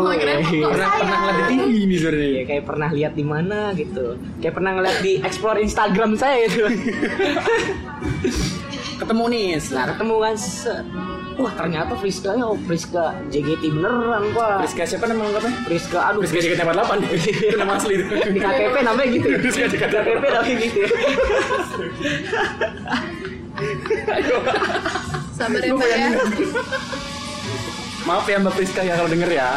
Oh, keren. Kok
Pernah
saya?
pernah ngeliat di TV ini
Iya,
sebenarnya.
kayak pernah lihat di mana gitu. Kayak pernah ngeliat di explore Instagram saya gitu.
Ketemu nih.
Nah, ketemu kan set. Wah, ternyata Friska ya, oh, Friska JGT beneran, Pak.
Friska siapa nama lengkapnya?
Friska, aduh,
Friska JKT 48. Itu nama asli. itu.
di KTP namanya gitu.
Friska
Di
JKT
KTP
48.
namanya gitu.
Sabar ya, Pak ya.
Maaf ya Mbak Friska ya kalau denger ya.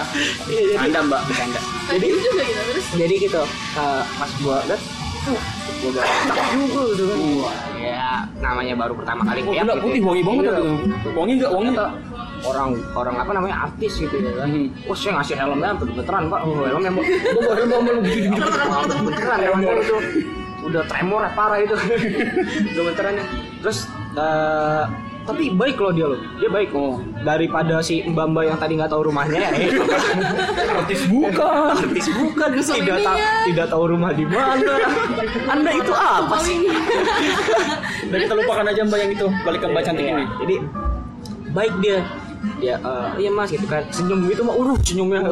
Iya, jadi-
Anda Mbak, bercanda.
Tadi juga gitu terus.
jadi gitu eh, pas gua liat uh, gua bilang "Cakep juga gitu kan ya namanya baru pertama kali
Oh, gila, putih wangi banget
Iya.
tuh. Wangi nggak wangi?
Ternyata orang orang apa namanya artis gitu ya kan
Mhm.
wah saya ngasih helm dan beneran pak oh, helm emang gua bawa helm sama lu gitu gitu beneran helm gua itu udah tremor ya, parah itu udah beneran ya terus eh, tapi baik loh dia loh dia baik oh daripada si mbak mbak yang tadi nggak tahu rumahnya ya
Artis bukan.
bukan artis bukan tidak tahu
Suaminya.
tidak tahu rumah di mana ya. anda itu apa sih
Paling
Dan kita lupakan aja Mbak yang itu. Balik ke Mbak cantik
Iya,
ini.
jadi baik dia ya eh, iya mas gitu kan senyum gitu mah uruh senyumnya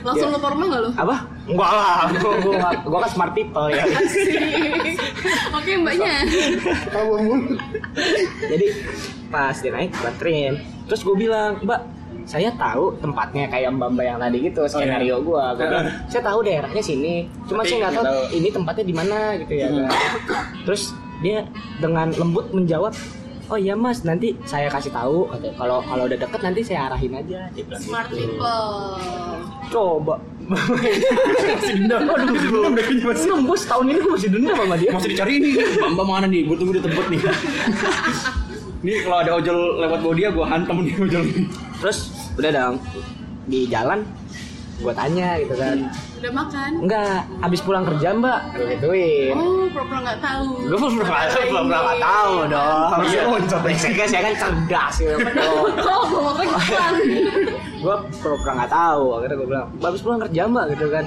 langsung lu
Dia-
formal nggak lu?
apa enggak lah gua, gua, gua kan smart people ya
Oke mbaknya.
jadi pas dia naik gua anterin terus gue bilang mbak saya tahu tempatnya kayak mbak mbak yang tadi gitu skenario gua, gua bilang, saya tahu daerahnya sini cuma
Iya. Tapi
saya nggak
nggak
tahu
tahu. Hmm.
ini tempatnya di mana gitu ya kan. terus dia dengan lembut menjawab oh iya mas nanti saya kasih tahu katanya. kalau kalau udah deket nanti saya arahin aja dia bilang gitu.
Smart people.
coba masih dendam aduh belum masih nembus tahun ini gua masih dendam sama dia
Masih dicari ini. Mbak mana nih? Gue tunggu di tempat nih. Ini kalau ada ojol lewat bawa dia, gue hantam nih ojol ini.
terus udah dong di jalan gua tanya gitu kan
Udah makan?
Enggak, habis pulang kerja mbak Gua Gituin
Oh, pura-pura nggak tahu.
Gue belum pernah belum pernah tahu dong
Harusnya loncat ya.
Saya kan, saya kan cerdas gitu
Oh, gue mau kejutan.
Gue pernah nggak tahu Akhirnya gue bilang, "Mbak, habis pulang kerja mbak gitu kan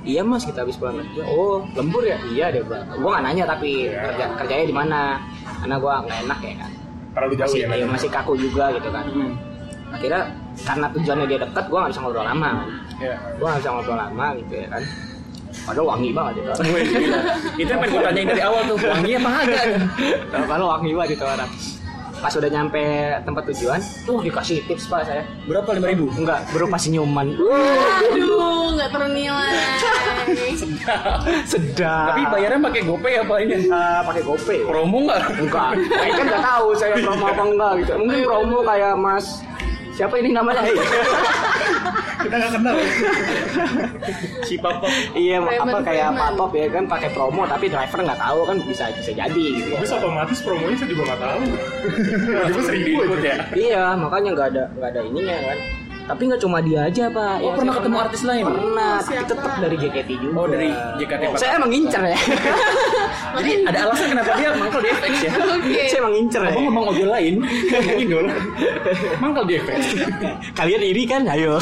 Iya mas kita habis pulang kerja Oh lembur ya? Iya dia bilang Gue gak nanya tapi kerja, kerjanya di mana Karena gue gak enak ya kan
terlalu jauh
masih,
ya
iya,
men.
masih kaku juga gitu kan
Hmm.
Akhirnya karena tujuannya dia deket gue gak bisa ngobrol lama kan.
Iya.
Gue gak bisa ngobrol lama gitu ya kan Padahal wangi banget gitu
Itu yang pengen gue tanyain dari awal tuh. Wangi apa agak?
Kalau wangi banget itu orang. Pas udah nyampe tempat tujuan, tuh dikasih tips pak saya.
Berapa? Lima ribu?
Enggak, berupa senyuman. Uh,
Aduh, nggak ternilai.
Sedap.
Tapi bayarnya pakai GoPay apa ini?
Eh, pakai GoPay.
Promo nggak?
Enggak. Saya kan nggak tahu saya promo apa enggak gitu. Mungkin promo kayak Mas siapa ini namanya?
Iya, Kita nggak kenal.
Si papa.
iya, apa
Preman,
kayak
preman.
Pak Top ya kan pakai promo tapi driver nggak tahu kan bisa bisa jadi gitu. ya.
Terus otomatis promonya saya juga nggak tahu. Tiba-tiba seribu
Ikut
aja.
ya.
Iya, makanya nggak ada nggak ada ininya kan. Tapi nggak cuma dia aja
Oh,
pak.
pernah
Yang saya
ketemu artis lain?
Pernah,
Oh,
tapi
siapa?
tetap dari JKT juga.
Oh, dari JKT, Pak.
Saya emang ngincer ya.
Jadi ada Eh, alasan kenapa dia mangkal di FX ya?
Oke.
saya emang ngincer ya.
Abang ngomong ojol lain, ngomongin dulu. Mangkal di FX.
Kalian iri kan? Ayo.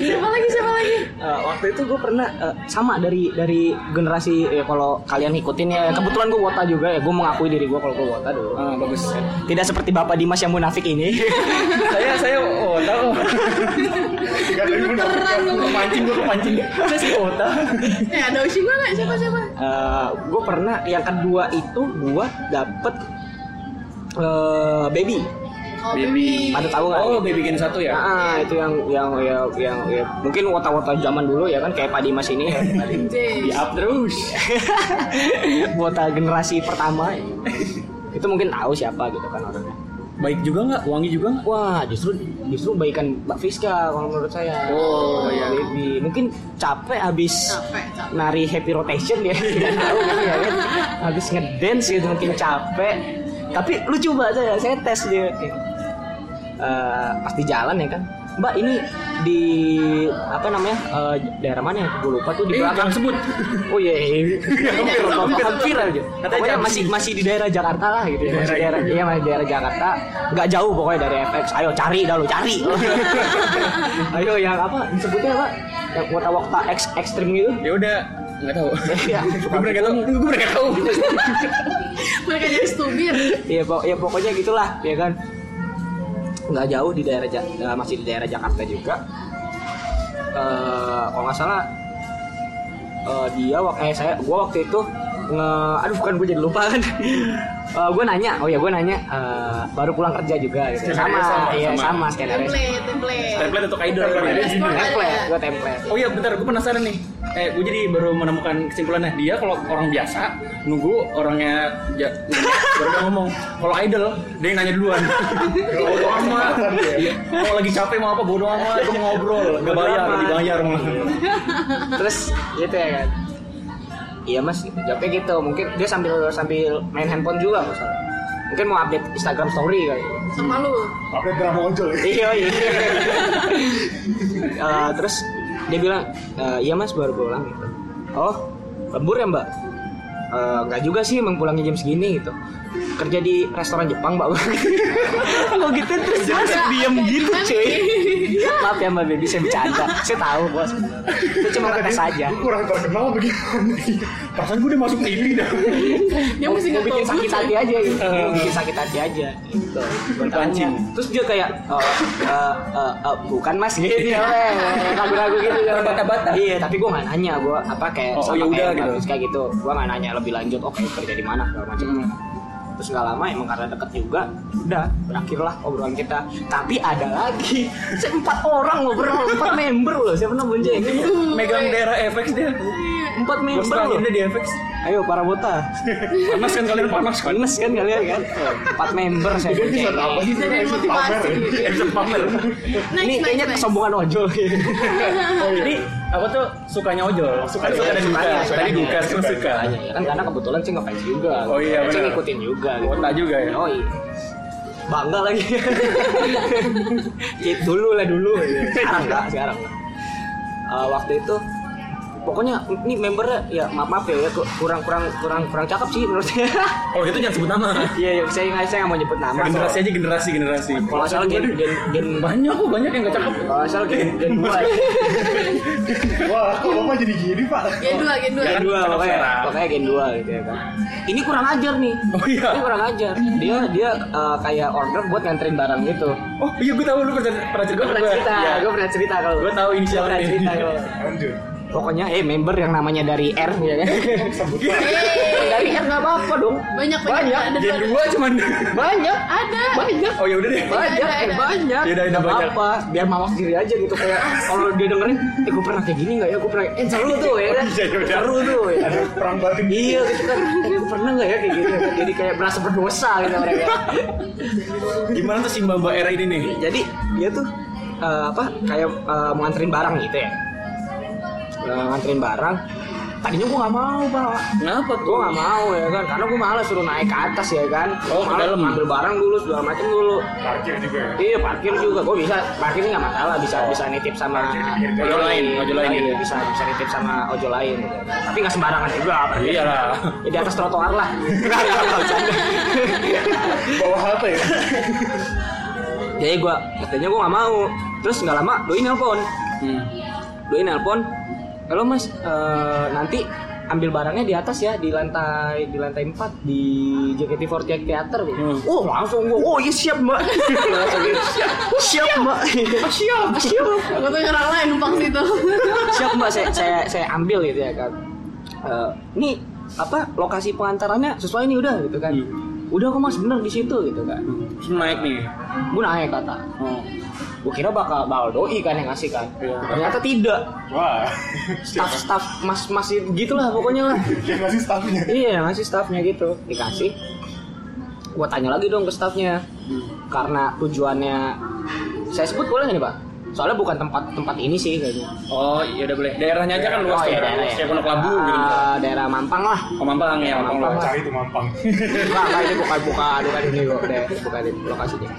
Siapa lagi? Siapa lagi?
Eh, waktu itu gue pernah eh, sama dari dari generasi ya kalau kalian ikutin ya kebetulan gue wota juga ya gue mengakui diri gue kalau gue wota dulu
Ah, bagus.
tidak seperti bapak Dimas yang munafik ini
Saya saya oh tahu.
Tiga ribu enam
Beneran lu.
Kepancing gue kepancing. Saya si Ota.
Eh, ada usi gue nggak? Siapa siapa?
gue Eh, pernah yang kedua itu gue dapet eh, baby
Oh, baby.
pada tahu nggak
Oh, baby gen satu ya?
Ah, itu yang yang yang yang, yang- mungkin wota-wota zaman dulu ya kan kayak Pak Dimas
Di
ini. Iya.
Jay.
up terus.
wota generasi pertama. itu mungkin tahu siapa gitu kan orangnya.
Baik juga nggak? Wangi juga nggak?
Wah, justru justru baikan Mbak Fiska kalau menurut saya.
Oh,
Mbak
iya.
Baby. Mungkin capek habis
Capek, capek.
nari happy rotation ya. Nggak tahu kan, ya kan. Habis ngedance gitu mungkin capek. Tapi lucu banget saya, saya tes dia. Oke. Eh, pas di jalan ya kan. Mbak ini di apa namanya? eh, daerah mana ya? Gue lupa tuh di
Eh,
belakang.
jangan sebut.
Oh iya, iya. hampir,
Jangan
hampir,
sebut.
hampir aja.
Katanya
Pokoknya
jangan
masih masih di daerah Jakarta lah gitu. ya. Masih
Daerah
daerah,
itu.
iya masih daerah Jakarta. Gak jauh pokoknya dari FX. Ayo cari dah lo cari. Ayo yang apa disebutnya apa? Yang wata wakta X ekstrim gitu.
Ya udah, nggak tahu.
Iya,
Gue bener nggak tahu. Gue bener nggak tahu.
Mereka jadi stubir.
Iya, pok- ya pokoknya gitulah, ya kan. Nggak jauh di daerah Ja- eh, masih di daerah Jakarta juga. Eh, kalau nggak salah eh, dia wak- eh saya gua waktu itu nge aduh bukan gue jadi lupa kan. Eh, gue nanya, oh ya gue nanya eh, baru pulang kerja juga gitu.
Skenario
Sama,
sama,
iya
sama.
sama, skenario.
Template, template.
Template untuk idol.
Template.
Template, gue template.
Oh iya bentar, gue penasaran nih. Eh, gue jadi baru menemukan kesimpulannya. Dia kalau orang biasa nunggu orangnya ja, nanya, baru dia ngomong. Kalau idol, dia yang nanya duluan. bodo amat. Iya. Mau lagi capek mau apa bodo amat. Gue ngobrol, gak
Bodo
bayar,
amat. Iya.
dibayar malah.
terus gitu ya kan iya mas gitu. jawabnya gitu mungkin dia sambil sambil main handphone juga nggak salah. mungkin mau update Instagram story kali
Sama lu.
Pakai drama ojol ya.
iya iya Eh, terus dia bilang "Eh, iya mas baru pulang gitu oh lembur ya mbak "Eh, nggak juga sih emang pulangnya jam segini gitu kerja di restoran Jepang mbak kalau gitu terus mas diem gitu cuy maaf ya mbak baby saya bercanda saya tahu bos itu cuma ngetes aja
Gue kurang terkenal bagaimana? Perasaan gue udah masuk TV dah.
Dia mesti
mau
nggak
bikin
tahu
sakit hati aja gitu
Eh.
mau bikin sakit hati aja gitu Gua tanya.
Dipancing.
terus dia kayak "Oh, eh, eh, eh, bukan mas gitu ya weh. ragu-ragu gitu ya, weh.
Iya. Terbata-bata.
iya tapi gue nggak nanya gue apa kayak
Oh,
sama
ya udah gitu.
kayak "Oh,
Hmm.
Mbak Fiska gitu gue nggak nanya lebih lanjut oke kerja di mana segala macam terus nggak lama emang karena deket juga udah berakhirlah obrolan kita tapi ada lagi Saya empat orang ngobrol empat member loh siapa pernah bonceng
Megang daerah FX dia.
Iya. empat
Gue
member
setelahnya
loh
dia di FX.
ayo para bota
Panas kan kalian panas kan?
panas kan kalian kan empat member saya
Jadi bisa
boncengin.
apa sih?
Jadi
Episode
motivasi
pamer ya?
gitu.
Episode pamer.
ini kayaknya kesombongan ojol
Jadi aku tuh sukanya ojol. Suka
Ojol.
ada duka.
Sukanya,
Tadi
sukanya.
duka, sekarang suka.
Tanya, ya kan karena kebetulan sih ngefans juga
Oh iya,
Saya
benar.
ngikutin juga gitu.
Kuota juga ya.
oh iya bangga lagi Cip dulu lah dulu Iya, sekarang enggak sekarang nggak. Eh, waktu itu pokoknya ini membernya ya maaf maaf ya ku- kurang kurang kurang kurang cakep sih menurut saya
Oh itu jangan sebut nama.
iya iya saya nggak saya nggak mau nyebut nama
Generasi aja generasi generasi.
kalau nggak salah gen gen gen
Banyak kok banyak yang gak cakep.
kalau nggak salah gen gen dua ya.
Wah, kok bapak jadi gini pak?
Gen dua, gen dua.
gen dua
Cakep
pokoknya
sekarang.
pokoknya gen dua gitu ya kan ini kurang ajar nih
Oh iya.
ini kurang ajar dia dia eh, kayak order buat nganterin barang gitu
Oh iya gue tahu lu pernah pernah cerita.
gue pernah cerita
Iya.
gue pernah cerita kalau
Gua tahu inisialnya.
Gua pernah cerita kalau
Lanjut.
pokoknya eh member yang namanya dari R ya kan
Sebut
Yeay.
dari R nggak apa-apa dong
Banyak banyak.
Banyak,
ada
Gen
dua-
dua cuman.
banyak
Ada.
banyak
Oh ya udah deh.
banyak
Ada,
eh,
ada.
banyak
Iya, ada, ada
Nggak
banyak.
apa biar mawas diri aja gitu kayak kalau dia dengerin eh gue pernah kayak gini nggak ya gue pernah eh seru tuh ya kan
Iya, iya, iya.
seru tuh ya kan?
Ada perang batin.
Iya gitu kan, eh, gue pernah nggak ya kayak gitu Jadi kayak berasa berdosa gitu mereka
Gimana tuh si Mbak Mbak era ini nih?
Jadi dia tuh eh, apa kayak eh, mau nganterin barang gitu ya Eh, Nganterin barang Tadinya gue nggak mau pak
Kenapa
gue nggak mau ya kan karena gue malah suruh naik ke atas ya kan
Oh, ke
Malah
dalam.
ambil barang dulu segala macem dulu
Parkir juga ya.
iya parkir juga gue bisa parkir nggak masalah bisa bisa nitip sama
Parkir di pinggir
jalan. Oh. Ojol lain, ojol
Iya,
lain.
bisa bisa nitip sama ojol lain gitu. tapi nggak sembarangan juga parkir.
Iya lah.
Ya, di atas trotoar lah
Bawa halte ya.
jadi gue katanya gue nggak mau terus nggak lama doi nelpon
Hmm.
doi nelpon halo mas eh, nanti ambil barangnya di atas ya di lantai di lantai 4 di JKT48 Theater gitu.
Hmm.
Oh langsung gua, oh iya siap mbak Langsung gitu. siap mbak siap siap
Aku tuh nyerang lain numpang situ.
siap mbak saya saya saya ambil gitu ya kan Eh, ini apa lokasi pengantarannya sesuai nih udah gitu kan udah kok mas bener di situ gitu kan
Terus naik nih.
gue naik kata
Oh.
gue kira bakal bakal doi kan yang ngasih kan
Iya.
ternyata tidak
Wah.
staff staff mas mas gitulah pokoknya lah
Yang ngasih staffnya.
iya ngasih staffnya gitu dikasih gua tanya lagi dong ke staffnya karena tujuannya saya sebut boleh nggak nih pak soalnya bukan tempat tempat ini sih kayaknya
Oh iya udah boleh. Daerahnya aja kan luas
Oh,
tuh.
iya, daerah ya.
Kayak Pondok Labu gitu.
Ah, daerah Mampang lah
Oh, Mampang ya, Mampang
Mampang.
luas.
Cari itu mampang.
Enggak, enggak, ini bukan bukan bukan ini kok deh bukan ini lokasinya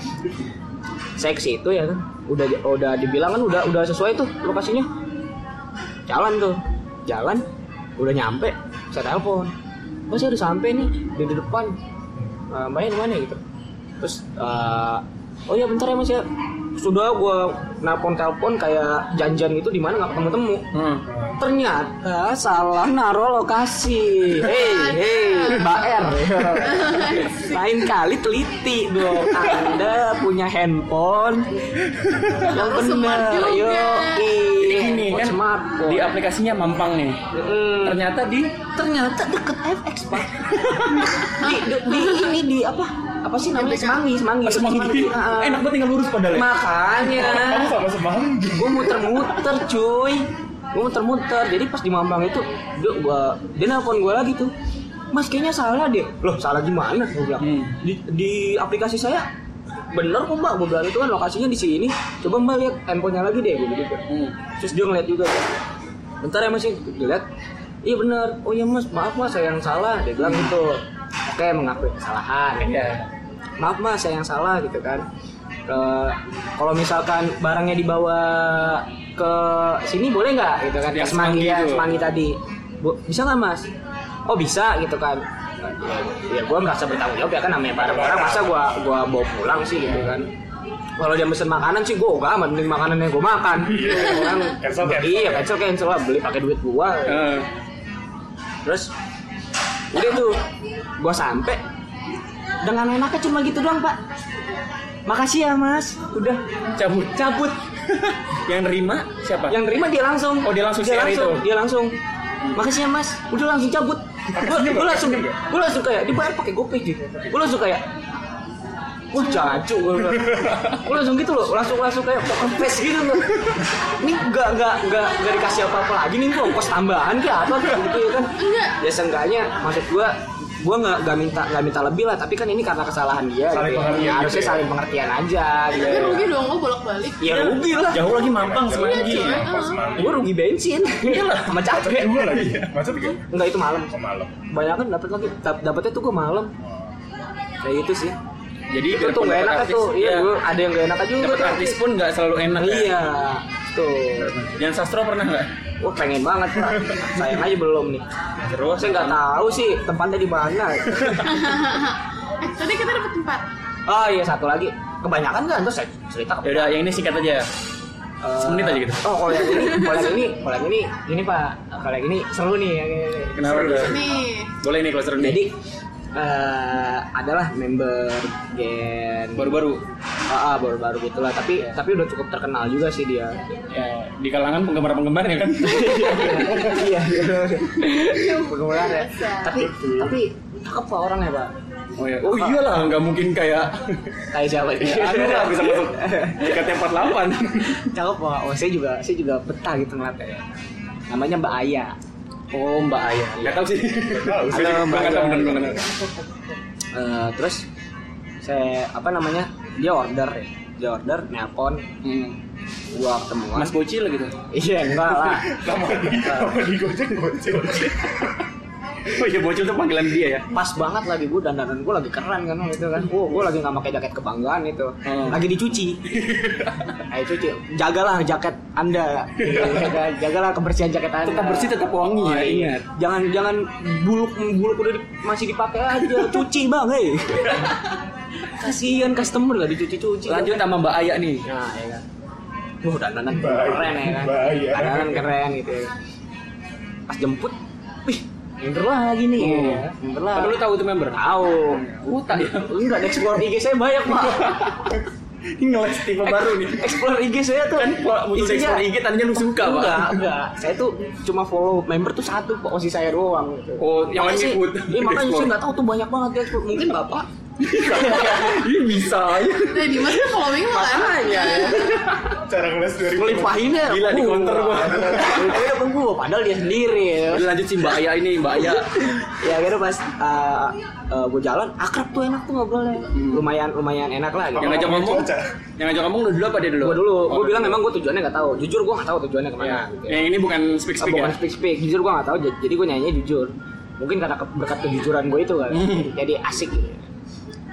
saya ke situ ya kan udah udah dibilang kan udah udah sesuai tuh lokasinya jalan tuh jalan udah nyampe saya telepon oh saya udah sampai nih di, di depan Eh, mbaknya di mana gitu terus eh, oh iya bentar ya mas ya sudah gua nelpon telepon kayak janjian gitu di mana nggak ketemu temu
Hmm.
ternyata salah naro lokasi hei hei mbak R lain kali teliti dong anda punya handphone yang
Harus
benar
smart juga.
yo
Jadi
Iya.
gini
Oh,
kan
smartphone
di aplikasinya Mampang nih.
Mm,
Ternyata di
ternyata deket FX pak di, di- di- ini di apa apa sih namanya semanggi semanggi
Semanggi.
Ah,
Enak banget tinggal lurus padahal. ya.
makanya
Kamu sama semanggi.
gue muter-muter cuy gue muter-muter jadi pas di Mampang itu dia gua dia nelpon gue lagi tuh mas kayaknya salah deh loh salah gimana gue bilang
Hmm.
di, di aplikasi saya bener kok mbak gue bilang itu kan lokasinya di sini coba mbak lihat handphonenya lagi deh gitu gitu
Hmm.
terus dia ngeliat juga bentar ya mas ya dilihat iya bener oh iya mas maaf mas saya yang salah dia bilang gitu oke mengakui kesalahan ya
Iya.
maaf mas saya yang salah gitu kan Eh, kalau misalkan barangnya dibawa ke sini boleh nggak gitu kan
Yang
Ke semanggi
semanggi
ya,
itu.
semanggi tadi Bu, bisa nggak mas oh bisa gitu kan ya gue merasa bertanggung jawab ya kan namanya barang-barang masa gue gua bawa pulang sih gitu kan kalau dia pesen makanan sih gue gak amat mending makanan yang gue makan Orang,
Cancel, cancel.
iya cancel cancel lah beli pakai duit gue
Eh,
terus udah tuh gua sampai dengan enaknya cuma gitu doang pak makasih ya mas udah
cabut.
cabut
Yang nerima siapa?
yang terima dia langsung
Oh, dia langsung
dia
share
langsung
itu.
dia langsung makasih ya mas udah langsung cabut gue gue langsung gue langsung kayak dibayar pakai gopay gitu gue langsung kayak wah jacu gue bilang. Gue langsung gitu loh langsung langsung kayak poker face gitu loh ini nggak nggak nggak nggak dikasih apa apa lagi nih gue ongkos tambahan kayak apa gitu ya kan
Enggak.
ya seenggaknya maksud gue gue nggak nggak minta nggak minta lebih lah tapi kan ini karena kesalahan dia
Saling
gitu ya.
pengertian
harusnya
gitu ya.
saling pengertian aja gitu
Tapi rugi dong lo bolak-balik.
ya rugi lah
Jauh lagi mampang semanggi.
Iya, cuy.
ya. Pas mandi.
gue rugi bensin sama capek
Dua lagi ya. Masa tiga?
enggak itu malam
Semalam.
banyak kan dapat lagi Dap- dapatnya tuh gue malam kayak gitu sih
Jadi
itu tuh gak enak kan tuh iya gue ada yang gak enak aja
Dapat artis pun nggak selalu enak. ya.
iya tuh
Yang sastra pernah nggak?
wah pengen banget Pak. sayang aja belum nih
Terus
saya nggak tahu sih tempatnya di mana
eh, tadi kita dapet tempat.
oh iya satu lagi kebanyakan kan terus saya cerita ke
Yaudah, yang ini singkat aja.
Eh,
Semenit aja gitu.
Oh, kalau yang ini, kalau yang ini, kalau yang ini, ini Pak, kalau yang ini seru nih. yang ini, nih.
Kenapa?
Seru.
Bro?
Nih,
Boleh nih kalau seru nih.
Jadi eh, adalah member Gen
baru-baru
Ah, ah, baru-baru gitulah tapi tapi udah cukup terkenal juga sih dia
ya, di kalangan penggemar-penggemar ya kan.
iya penggemar ya
Biasa.
tapi tapi cakep kok orangnya pak
Oh, iya. oh iyalah, nggak mungkin kayak
kayak siapa ini
Aduh lah Iya, bisa masuk JKT 48
cakep kok oh saya juga saya juga betah gitu ngeliatnya ya. namanya Mbak Aya oh Mbak Aya
Gak tau sih
Tahu sih.
Halo, Mbak.
Gak tau bener bener bener.
Eh, terus saya apa namanya dia order ya dia order nelpon
Hmm.
gua ketemuan
Mas bocil gitu
iya enggak lah
Nama di, nama di Gojek Gojek.
Oh iya bocil tuh panggilan dia ya
pas banget lagi gue dandanan gue lagi keren kan gitu kan gue gue lagi nggak pakai jaket kebanggaan itu
Hmm.
lagi dicuci ayo cuci jagalah jaket anda Jaga- jagalah kebersihan jaket
Iya.
anda Oh, iya.
Tetap bersih, tetap wangi ya, ingat.
jangan jangan buluk buluk udah di- masih dipakai aja cuci bang hei kasihan customer lah dicuci cuci
Lanjut sama Mbak Aya nih
nah ya kan wah dandanan
Bahaya.
keren ya kan
Bahaya.
dandanan keren gitu ya. pas jemput wih Member lagi nih,
Hmm.
ya. member lagi.
Padahal lu tahu itu member
Tahu.
Oh tak ya
Enggak, explore IG saya banyak, Pak.
Ini ngeles tipe baru nih
Explore IG saya tuh
Kan kalau muncul
isinya-
ekspor IG tadinya lu suka
Enggak,
pak
enggak. Saya tuh cuma follow member tuh satu posisi saya doang gitu.
Oh, yang lain
Makanya sih-
ngikut.
Iya, makanya saya
Explore.
enggak tahu tuh banyak banget ya explore. Mungkin Bapak
Ini bisa aja
dari Dimas kan following lo kan?
Makanya.
Cara ngeles dari
ngelimpahinnya.
Iya. Gila, di counter gua.
Udah nunggu, padahal dia sendiri. ya.
Udah lanjut si Mbak Aya ini Mbak Aya
Ya akhirnya pas gue jalan akrab tuh enak tuh ngobrolnya.
Hmm.
Lumayan lumayan enak lah gitu.
Yang ngajak ngomong
cuaca.
Yang ngajak ngomong lu dulu apa dia dulu?
Gue dulu,
Oh,
gue bilang memang gue tujuannya nggak tahu. Jujur gue nggak tahu tujuannya kemana.
Ya.
gitu ya.
Yang ini bukan speak
Ah,
speak
bukan
ya?
speak speak jujur gue nggak tahu j- jadi gue nyanyinya jujur mungkin karena ke- berkat kejujuran gue itu kan
Hmm.
jadi asik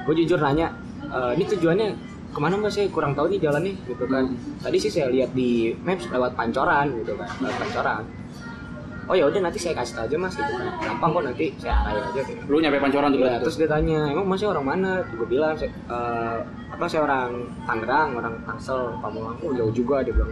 gue jujur nanya "Eh, ini tujuannya kemana mbak saya kurang tahu nih jalannya gitu kan
Hmm.
tadi sih saya lihat di maps lewat pancoran gitu kan lewat pancoran oh ya udah nanti saya kasih tahu aja mas gitu kan gampang kok nanti saya arahin aja gitu
Lu nyampe pancoran tuh
Iya,
berarti
terus dia tanya, emang masih orang mana? Gue bilang, "Saya- eh, apa saya orang Tangerang, orang Tangsel, Pamulang, oh jauh juga dia bilang.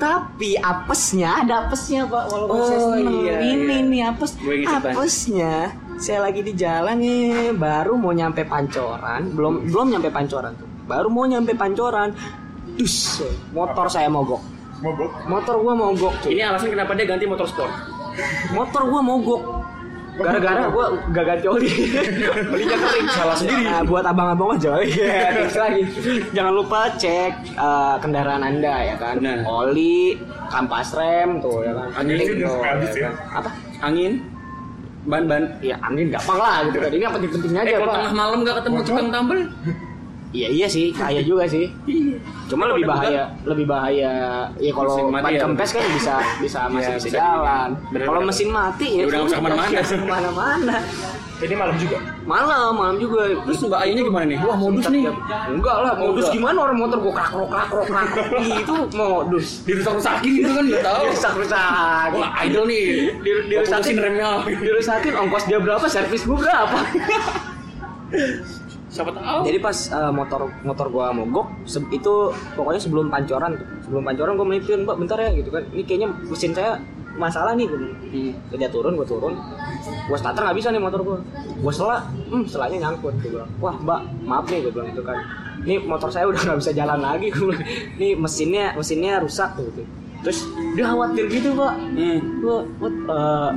Tapi apesnya, ada apesnya pak, walaupun
saya seneng.
ini
Ini
nih iya. apes, apesnya saya lagi di jalan nih, baru mau nyampe pancoran, belum belum nyampe pancoran tuh, baru mau nyampe pancoran, dus, motor saya mogok,
Mabok.
motor gua mogok cuy
Ini alasan kenapa dia ganti motor sport
motor gua mogok gara-gara gua gak ganti oli olinya kering salah sendiri buat abang-abang mah jauh ya tips lagi jangan lupa cek eh, kendaraan anda ya kan
Benar.
oli kampas rem tuh ya kan
Angin
juga
Penting tuh,
sampai
ya
habis ya.
kan. apa
Angin Ban-ban
ya angin gampang lah gitu kan ini yang penting-pentingnya
Eh
aja
kalau
pak
tengah malam gak ketemu tukang tambel
iya iya sih bahaya juga sih cuma lebih
Udah
bahaya lebih bahaya ya kalau
Mesin mati
ban
ya.
kempes kan bisa bisa masih
Iya,
bisa,
bisa
jalan
di- bener-bener.
kalau mesin mati
Ya
ya
udah nggak usah kemana-mana.
nggak usah kemana-mana
Ini malam juga.
Malam, malam juga.
Terus Mbak Ayunya gimana nih? Wah modus nih
Enggak lah,
Oh,
modus
enggak.
gimana orang motor gua krak krok krak krok krak krok. Itu modus.
Dirusak-rusakin gitu kan gak tau
Rusak-rusak.
Wah idol nih
Dir- dirusakin
Dirusakin remnya
Dirusakin ongkos dia berapa, servis gua berapa.
Siapa tau
Jadi pas eh, motor motor gua mogok se- itu pokoknya sebelum pancoran tuh. Sebelum pancoran gua melipin, "Mbak, bentar ya" gitu kan. Ini kayaknya mesin saya masalah nih gua.
Hmm.
Dia turun, gua turun. Gua starter nggak bisa nih motor gua. Gua selak, hmm, selaknya nyangkut gua bilang. Wah, Mbak, maaf nih gua bilang gitu kan. Ini motor saya udah nggak bisa jalan lagi gua bilang. Ini mesinnya mesinnya rusak tuh gitu. Terus dia khawatir gitu, Pak.
Hmm.
Gua, "What, eh,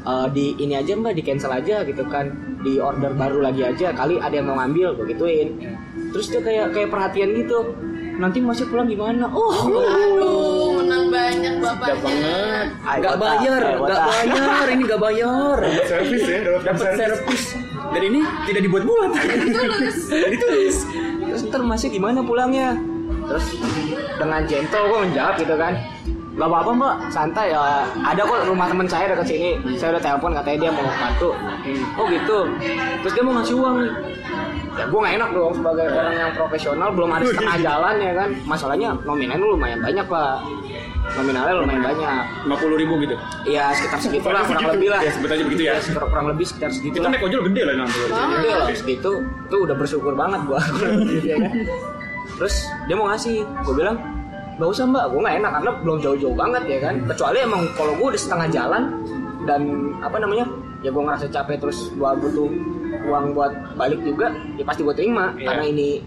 "Eh, di ini aja mbak di cancel aja gitu kan di order baru lagi aja kali ada yang mau ngambil gue gituin
Iya.
terus dia kayak kayak perhatian gitu nanti masih pulang gimana oh
Aduh, menang banyak
Sedap
bapaknya.
banget.
Ay,
Gak
botak,
bayar,
ay,
gak
botak.
bayar, ini gak bayar.
Service ya,
Dapat servis. Dan ini tidak dibuat-buat. Ditulis.
terus ntar masih gimana pulangnya terus dengan gentle gue menjawab gitu kan gak apa-apa mbak santai ya ada kok rumah teman saya dekat sini saya udah telepon katanya dia mau bantu oh gitu terus dia mau ngasih uang nih ya gue gak enak dong sebagai orang yang profesional belum ada setengah jalan ya kan masalahnya nominalnya lumayan banyak pak nominalnya lumayan banyak
50 ribu gitu.
ya sekitar segitulah kurang lebih lah
Ya, sebut aja begitu ya.
Ya, sekitar- kurang lebih sekitar segitu
Kita
lah
naik ojol gede lah nanti.
gitu ya habis gitu tuh udah bersyukur banget gua Ya kan? terus dia mau ngasih gua bilang gak usah mbak gua nggak enak karena belum jauh-jauh banget ya kan kecuali emang kalau gua udah setengah jalan dan apa namanya ya gua ngerasa capek terus gua butuh uang buat balik juga ya pasti gua terima
Iya.
karena ini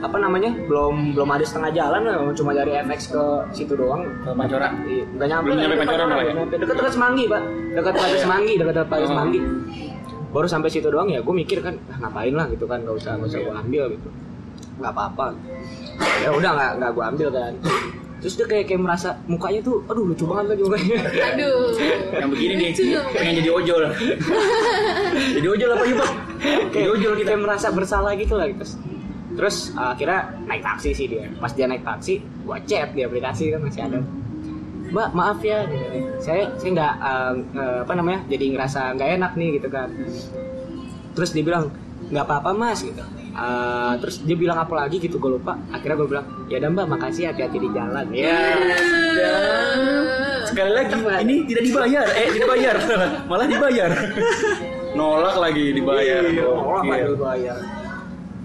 apa namanya belum belum ada setengah jalan lah, cuma dari FX ke situ doang
Ke Pancoran.
Iya, nggak nyampe
Belum
lah,
nyampe
itu
Pancoran malah ya?
nggak nyampe. dekat-dekat semanggi pak dekat-dekat semanggi dekat-dekat
Oh.
semanggi baru sampai situ doang ya gue mikir kan ah, ngapain lah gitu kan nggak usah nggak usah
Iya.
gue ambil gitu nggak apa-apa ya udah nggak nggak gue ambil kan terus dia kayak kayak merasa mukanya tuh aduh lucu banget lagi mukanya
Aduh.
Yang begini nih,
Lucu.
pengen jadi ojol. jadi ojol apa yuk, Bang? Jadi
kayak
ojol
ojol
kita.
kita merasa bersalah gitu lah gitu. Terus uh, akhirnya naik taksi sih dia. Pas dia naik taksi, gua chat di aplikasi kan masih ada. Mbak maaf ya, gitu nih. saya saya nggak uh, uh, apa namanya jadi ngerasa nggak enak nih gitu kan. Terus dia bilang nggak apa-apa mas gitu. Uh, terus dia bilang apa lagi gitu gue lupa. Akhirnya gue bilang ya udah mbak makasih hati-hati di jalan. Ya.
Aduh.
Sekali lagi, ini tidak dibayar. Eh, tidak bayar. Malah dibayar. Nolak lagi dibayar.
Iya,
Oh,
orang
iya.
baru bayar.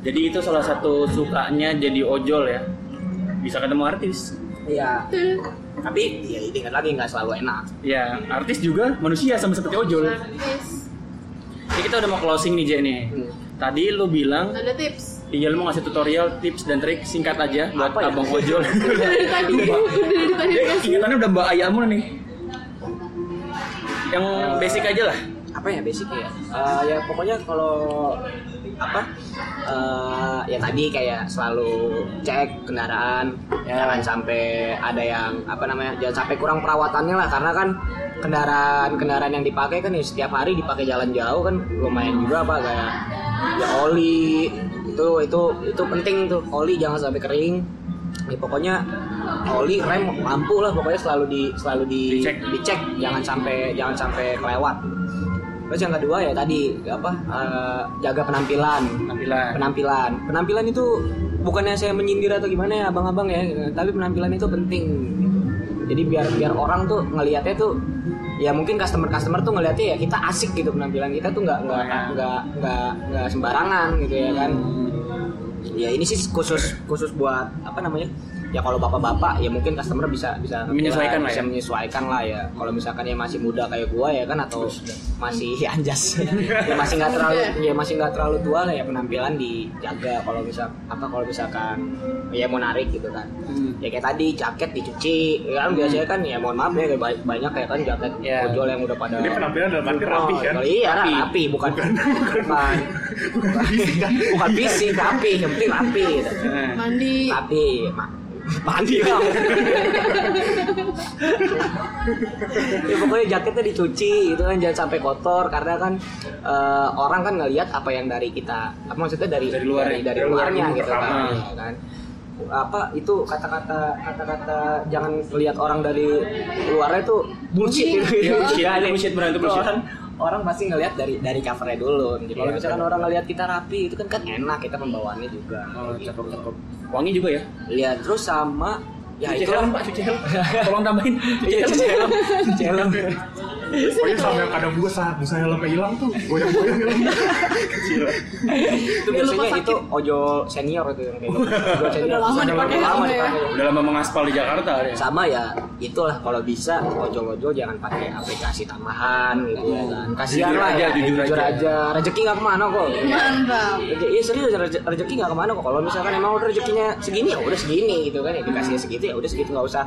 Jadi itu salah satu sukanya jadi ojol ya. Bisa ketemu artis.
Iya. Tapi ya ingat lagi nggak selalu enak.
Ya, artis juga manusia sama seperti ojol.
Artis.
Jadi kita udah mau closing nih, Jay nih.
Hmm.
Tadi lu bilang
Ada tips.
Iya lu mau ngasih tutorial, tips dan trik singkat aja buat
Apa ya?
abang ojol.
Dari tadi, dari tadi
Eh,
dikasih.
Ingatannya udah mbak ayah mulu nih. Yang basic aja lah.
apa ya basicnya ya? Eh, ya pokoknya kalau apa eh, ya tadi kayak selalu cek kendaraan jangan sampai ada yang apa namanya jangan sampai kurang perawatannya lah karena kan kendaraan kendaraan yang dipakai kan ya setiap hari dipakai jalan jauh kan lumayan juga apa kayak ya oli itu itu itu penting tuh oli jangan sampai kering ya pokoknya oli rem lampu lah pokoknya selalu di selalu di,
Dicek.
dicek jangan sampai jangan sampai kelewat Terus yang kedua ya tadi apa eh, jaga penampilan.
Penampilan.
Penampilan. Penampilan itu bukannya saya menyindir atau gimana ya abang-abang ya, tapi penampilan itu penting. gitu. Jadi biar biar orang tuh ngelihatnya tuh ya mungkin customer-customer tuh ngelihatnya ya kita asik gitu penampilan kita tuh nggak nggak
Lumayan.
nggak nggak nggak sembarangan gitu ya kan.
Hmm.
Ya ini sih khusus khusus buat apa namanya? Ya kalau bapak-bapak ya mungkin customer bisa bisa
Menyesuaikan lah
bisa
ya.
menyesuaikan lah ya. Kalau misalkan ya masih muda kayak gua ya kan atau masih ya, anjas ya masih nggak terlalu ya masih nggak terlalu tua lah ya penampilan dijaga kalau bisa apa kalau misalkan ya mau narik gitu kan ya kayak tadi jaket dicuci ya kan biasanya kan ya mohon maaf ya kayak ba- banyak kayak kan jaket
Ya.
ojol yang udah pada
Jadi penampilan dalam arti
Oh,
rapi kan?
Iya, rapi, bukan bukan bukan, bukan bising, rapi, yang penting rapi. gitu.
Mandi.
Rapi, ma- mandi lah. ya pokoknya jaketnya dicuci gitu kan jangan sampai kotor karena kan eh, orang kan ngelihat apa yang dari kita apa maksudnya dari
Dari luar
dari,
ya?
dari
Dari luar
luarnya
dulu
gitu kan,
pertama.
ya kan apa itu kata-kata kata-kata jangan lihat orang dari luarnya tuh
Iya,
bullshit gitu.
bullshit,
Jangan.
bullshit, beneran itu bullshit.
Orang- orang pasti ngelihat dari dari covernya dulu. Jadi Kalau
Iya,
misalkan
betul.
orang ngelihat kita rapi itu kan kan enak kita pembawaannya juga.
Oh,
Gitu.
Wangi juga ya.
Iya, terus sama ya
cuci
itulah
helm, Pak, cuci helm. Tolong tambahin. Cuci
Iya,
helm.
cuci helm. Cuci helm.
Pokoknya sampai yang kadang gue saat busa helmnya hilang tuh, goyang-goyang helmnya. Kecil.
itu
Jangan lupa
biasanya
sakit.
itu ojol senior itu yang kayak gitu. Ojol senior.
lama
Ojol
dipakai
lama
helmnya ya.
dipakai.
Udah lama mengaspal di Jakarta ya.
sama ya itulah kalau bisa ojol-ojol jangan pakai aplikasi tambahan gitu ya kan kasihan
Jujur
lah
aja,
ya,
jujur aja.
rezeki nggak kemana kok
Mantap.
Reze- Iya serius reze- rezeki nggak kemana kok. Kalau misalkan emang udah rezekinya segini ya udah segini gitu kan ya dikasih segitu ya udah segitu nggak usah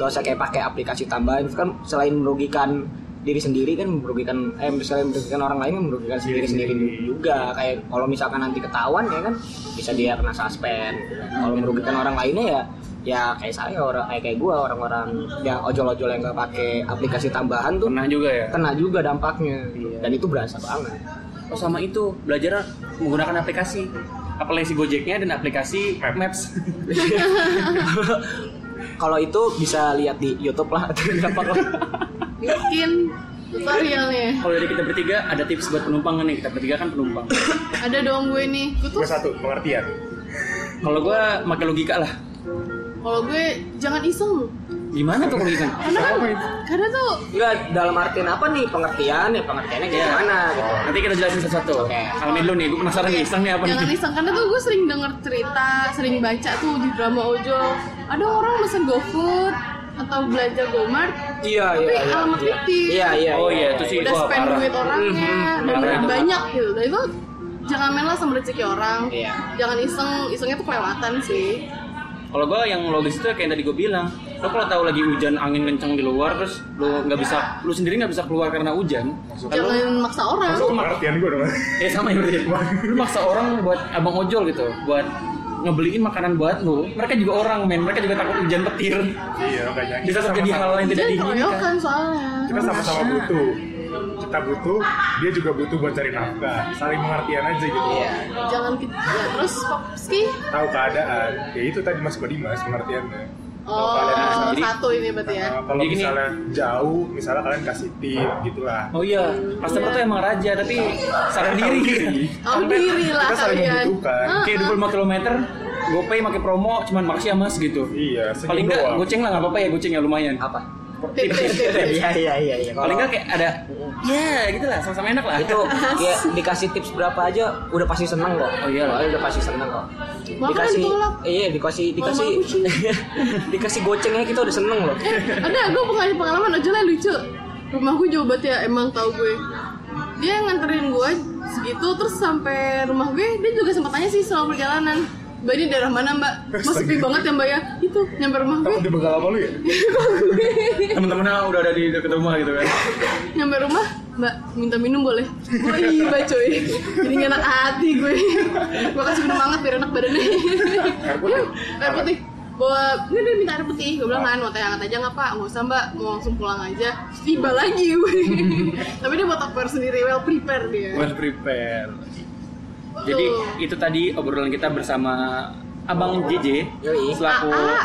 nggak usah kayak pakai aplikasi tambahan kan selain merugikan diri sendiri kan merugikan eh misalnya merugikan orang lain kan merugikan sendiri sendiri juga kayak kalau misalkan nanti ketahuan ya kan bisa dia kena suspend kalau merugikan orang lainnya ya ya kayak saya orang kayak kayak gua orang-orang yang ojol-ojol yang nggak pakai aplikasi tambahan tuh
Pernah juga ya?
kena juga dampaknya dan itu berasa banget
Oh sama itu, belajar menggunakan aplikasi Aplikasi Gojeknya dan aplikasi
Map.
Maps
kalau itu bisa lihat di YouTube lah Gampang lah.
bikin tutorialnya
Kalau dari kita bertiga, ada tips buat penumpang nih Kita bertiga kan penumpang
ada dong gue nih gue tuh
Gue satu, pengertian.
Kalau gua pakai logika lah
kalau gue jangan iseng loh
Gimana tuh kalau gitu?
karena kan karena tuh
Enggak dalam artian apa nih pengertian ya pengertiannya
Iya.
kayak gimana gitu.
Nanti kita jelasin satu-satu
Oke.
Alamin dulu nih, gue penasaran nih iseng nih apa
jangan
nih
iseng karena tuh gue sering denger cerita sering baca tuh di drama ojol ada orang mesen GoFood atau belanja GoMart
Iya
Tapi
iya. iya,
alamat
iya.
fiktif.
Iya iya.
Oh iya, itu sih
udah
wah,
spend
parah.
duit orangnya
Mhm,
dan
parah itu.
banyak gitu dan itu jangan main lah sama rezeki orang
Iya.
jangan iseng isengnya tuh kelewatan sih
Kalau gua yang logis itu kayak yang tadi gue bilang, lo kalau tahu lagi hujan angin kencang di luar terus lo nggak bisa, lo sendiri nggak bisa keluar karena hujan, kalau
jangan maksa orang
Masuk pengertian gue dong.
eh sama ya berarti, lo maksa orang buat abang ojol gitu, buat ngebeliin makanan buat lo, mereka juga orang men, mereka juga takut hujan petir,
Iya, makanya.
bisa terjadi hal Iya. yang tidak
jangan
diinginkan.
keroyokan soalnya
Kita sama-sama butuh. Kita butuh, dia juga butuh buat cari nafkah. Saling pengertian aja gitu.
Iya.
jangan ke- ya, terus Popski
Tahu keadaan. Ya itu tadi Mas Kodimas pengertiannya. Tahu
oh
keadaan yang
Jadi-
satu ini berarti ya
Nah, kalau
Jadi gini.
misalnya jauh, misalnya kalian kasih tip gitulah.
Oh iya, customer tuh emang raja tapi sadar Iya, diri.
oh diri lah
Kita saling
kalian
membutuhkan.
Kayak 25 km, GoPay pakai promo cuman makasih ya mas gitu.
Iya, senyum
Paling nggak
doang.
goceng lah nggak apa-apa ya goceng ya lumayan.
Apa?
Tip, tip, tip, tip.
Iya iya iya iya.
Paling
Kalau
nggak kayak ada, ya gitu lah, sama-sama enak lah.
itu ya dikasih tips berapa aja udah pasti seneng kok.
Oh, iya.
Soalnya udah pasti seneng kok.
Makanya kan ditolak.
Iya, dikasih dikasih
Mama kucing.
dikasih gocengnya kita udah seneng loh.
Eh, ada gue pengalaman pengalaman ojolnya lucu rumah gue jauh banget ya emang tau gue dia nganterin gue segitu terus sampai rumah gue dia juga sempat tanya sih selama perjalanan mbak ini daerah mana mbak mas sepi banget ya mbak ya itu nyampe rumah gue
Tahu di begal apa lu ya?
Temen-temennya udah ada di deket rumah gitu kan.
nyampe rumah mbak minta minum boleh gue iya Mbak, cuy jadi nggak enak hati gue gue kasih minum hangat biar enak badannya
Air putih.
Yuk, air putih bawa dia dia minta air putih gue bilang kan mau teh hangat aja nggak pak nggak usah mbak mau langsung pulang aja Terus tiba lagi gue tapi dia buat takber sendiri well prepare dia
Well prepare. Jadi itu tadi obrolan kita bersama Abang JJ
Yoi.
selaku
AA.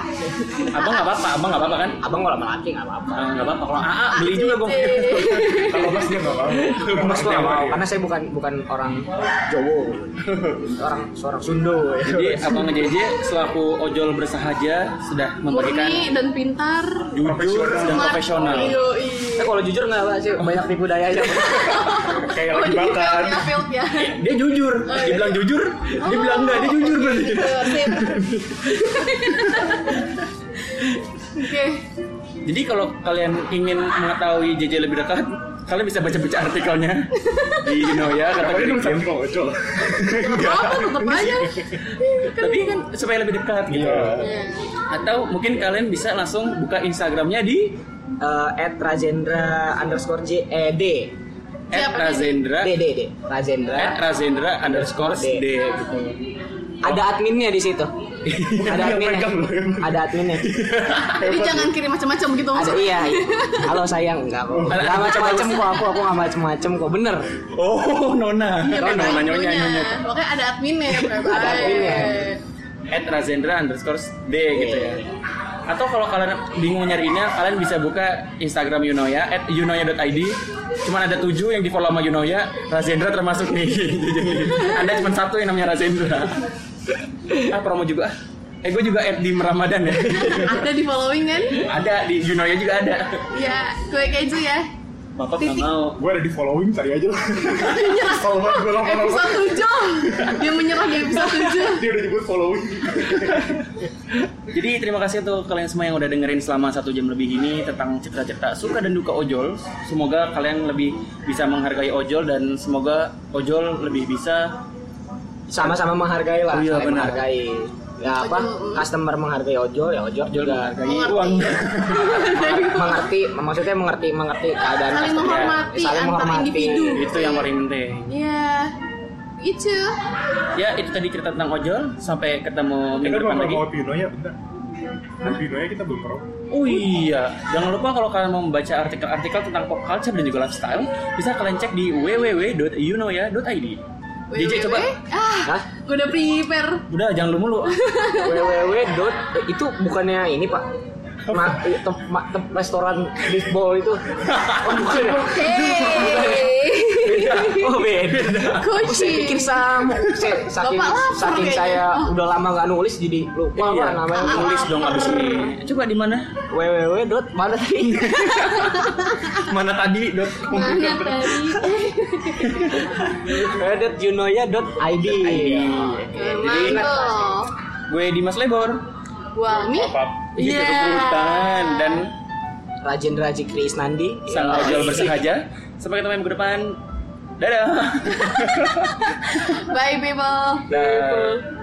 Abang nggak apa-apa, Abang nggak apa-apa kan?
Abang kalau laki nggak apa-apa.
Ah, Nggak apa-apa kalau AA beli juga
Iya,
gue.
Kalau mas dia nggak mau.
Mas gua nggak
Nggak
mau
dia.
karena saya bukan bukan orang Jawa. orang seorang Sundo ya.
Jadi Abang JJ selaku ojol bersahaja sudah membagikan
murni dan pintar
jujur
Profesional.
dan
smart.
profesional.
Iyo,
Eh,
iyo.
kalau jujur nggak Pak, sih banyak tipu dayanya.
kayak
Oh,
lagi
dia
makan.
field, field, ya.
Dia jujur, dia bilang jujur, dia bilang enggak, dia jujur berarti.
Gitu, sip. Oke,
Jadi kalau kalian ingin mengetahui JJ lebih dekat, kalian bisa baca-baca artikelnya di Noya kata
Tapi
Gede
lu
Kim.
sama ojol.
apa tetap aja.
Tapi kan supaya lebih dekat gitu.
Iya.
Iya.
Atau mungkin kalian bisa langsung buka Instagramnya di
Eh, at Rajendra underscore J eh, D
Siapa
@razendra
D D D
Eh.
Rajendra
@razendra underscore
D.
d
Iya,
gitu.
ada adminnya di situ ada adminnya
pegang loh.
ada adminnya
Jadi jangan kirim macam-macam gitu
ada
maksudnya.
iya iya. halo sayang enggak kok enggak macam-macam kok aku aku enggak macam-macam kok bener
Oh, Nona.
Iya,
Oh, Nona
makanya
nyonya
itunya.
nyonya.
Makanya ada adminnya,
Ada adminnya.
bye-bye.
@razendra underscore d gitu ya. Atau kalau kalian bingung nyariinnya, kalian bisa buka Instagram Yunoya at yunoya.id. Cuman ada tujuh yang di follow sama Yunoya, Razendra termasuk nih. Jadi, Anda cuma satu yang namanya Razendra. Ah, promo juga. ah. Eh, gue juga at Dim Ramadan ya.
Ada di following kan?
ada, di Yunoya juga ada.
Ya, kue keju ya.
Bapak nggak
Titik.
mau.
Gue ada di following cari aja lah. Kalau banget gue lama lama.
Episode 7 Dia menyerah di episode
Dia udah nyebut following.
Jadi terima kasih untuk kalian semua yang udah dengerin selama satu jam lebih ini tentang cerita-cerita suka dan duka ojol. Semoga kalian lebih bisa menghargai ojol dan semoga ojol lebih bisa
sama-sama menghargai lah
Oh, iya,
saling
benar.
menghargai ya apa
Ojol, mm.
customer menghargai ojol ya ojol
Jual
juga
menghargai
Mengerti.
uang.
mengerti maksudnya mengerti mengerti keadaan
Saling
customer.
menghormati antar individu.
Itu yang paling penting.
Iya. Itu.
Ya itu tadi cerita tentang ojol sampai ketemu
Kita
minggu
belum
depan lagi.
promo Pino ya bentar. Pino ya kita belum promo.
Oh iya, jangan lupa kalau kalian mau membaca artikel-artikel tentang pop culture dan juga lifestyle, bisa kalian cek di www.younoya.id. DJ coba.
www. Ah,
Hah?
gua udah prepare.
Udah jangan lu mulu.
www dot eh, itu bukannya ini pak Ma, eh, tem- ma- tem- restoran baseball itu oh bukan ya
Hey.
beda oh beda
Kucing.
saya pikir sama saya, saking
Bapak lapar
saking
kayaknya.
saya
Oh.
udah lama nggak nulis jadi lupa pak
Iya,
namanya
tulis dong abis ini. Coba di mana?
www dot mana tadi
Mana tadi? Dot.
Mana tadi?
www dot junoya dot id
Emang loh.
Gue Dimas Lebor.
Gua Mi.
Pap.
Ini
Iya.
yeah. hutan dan
Rajendra Jikri Isnandi
sang ojol bersengaja. Sampai ketemu minggu depan. Dadah.
Bye people.
Dadah.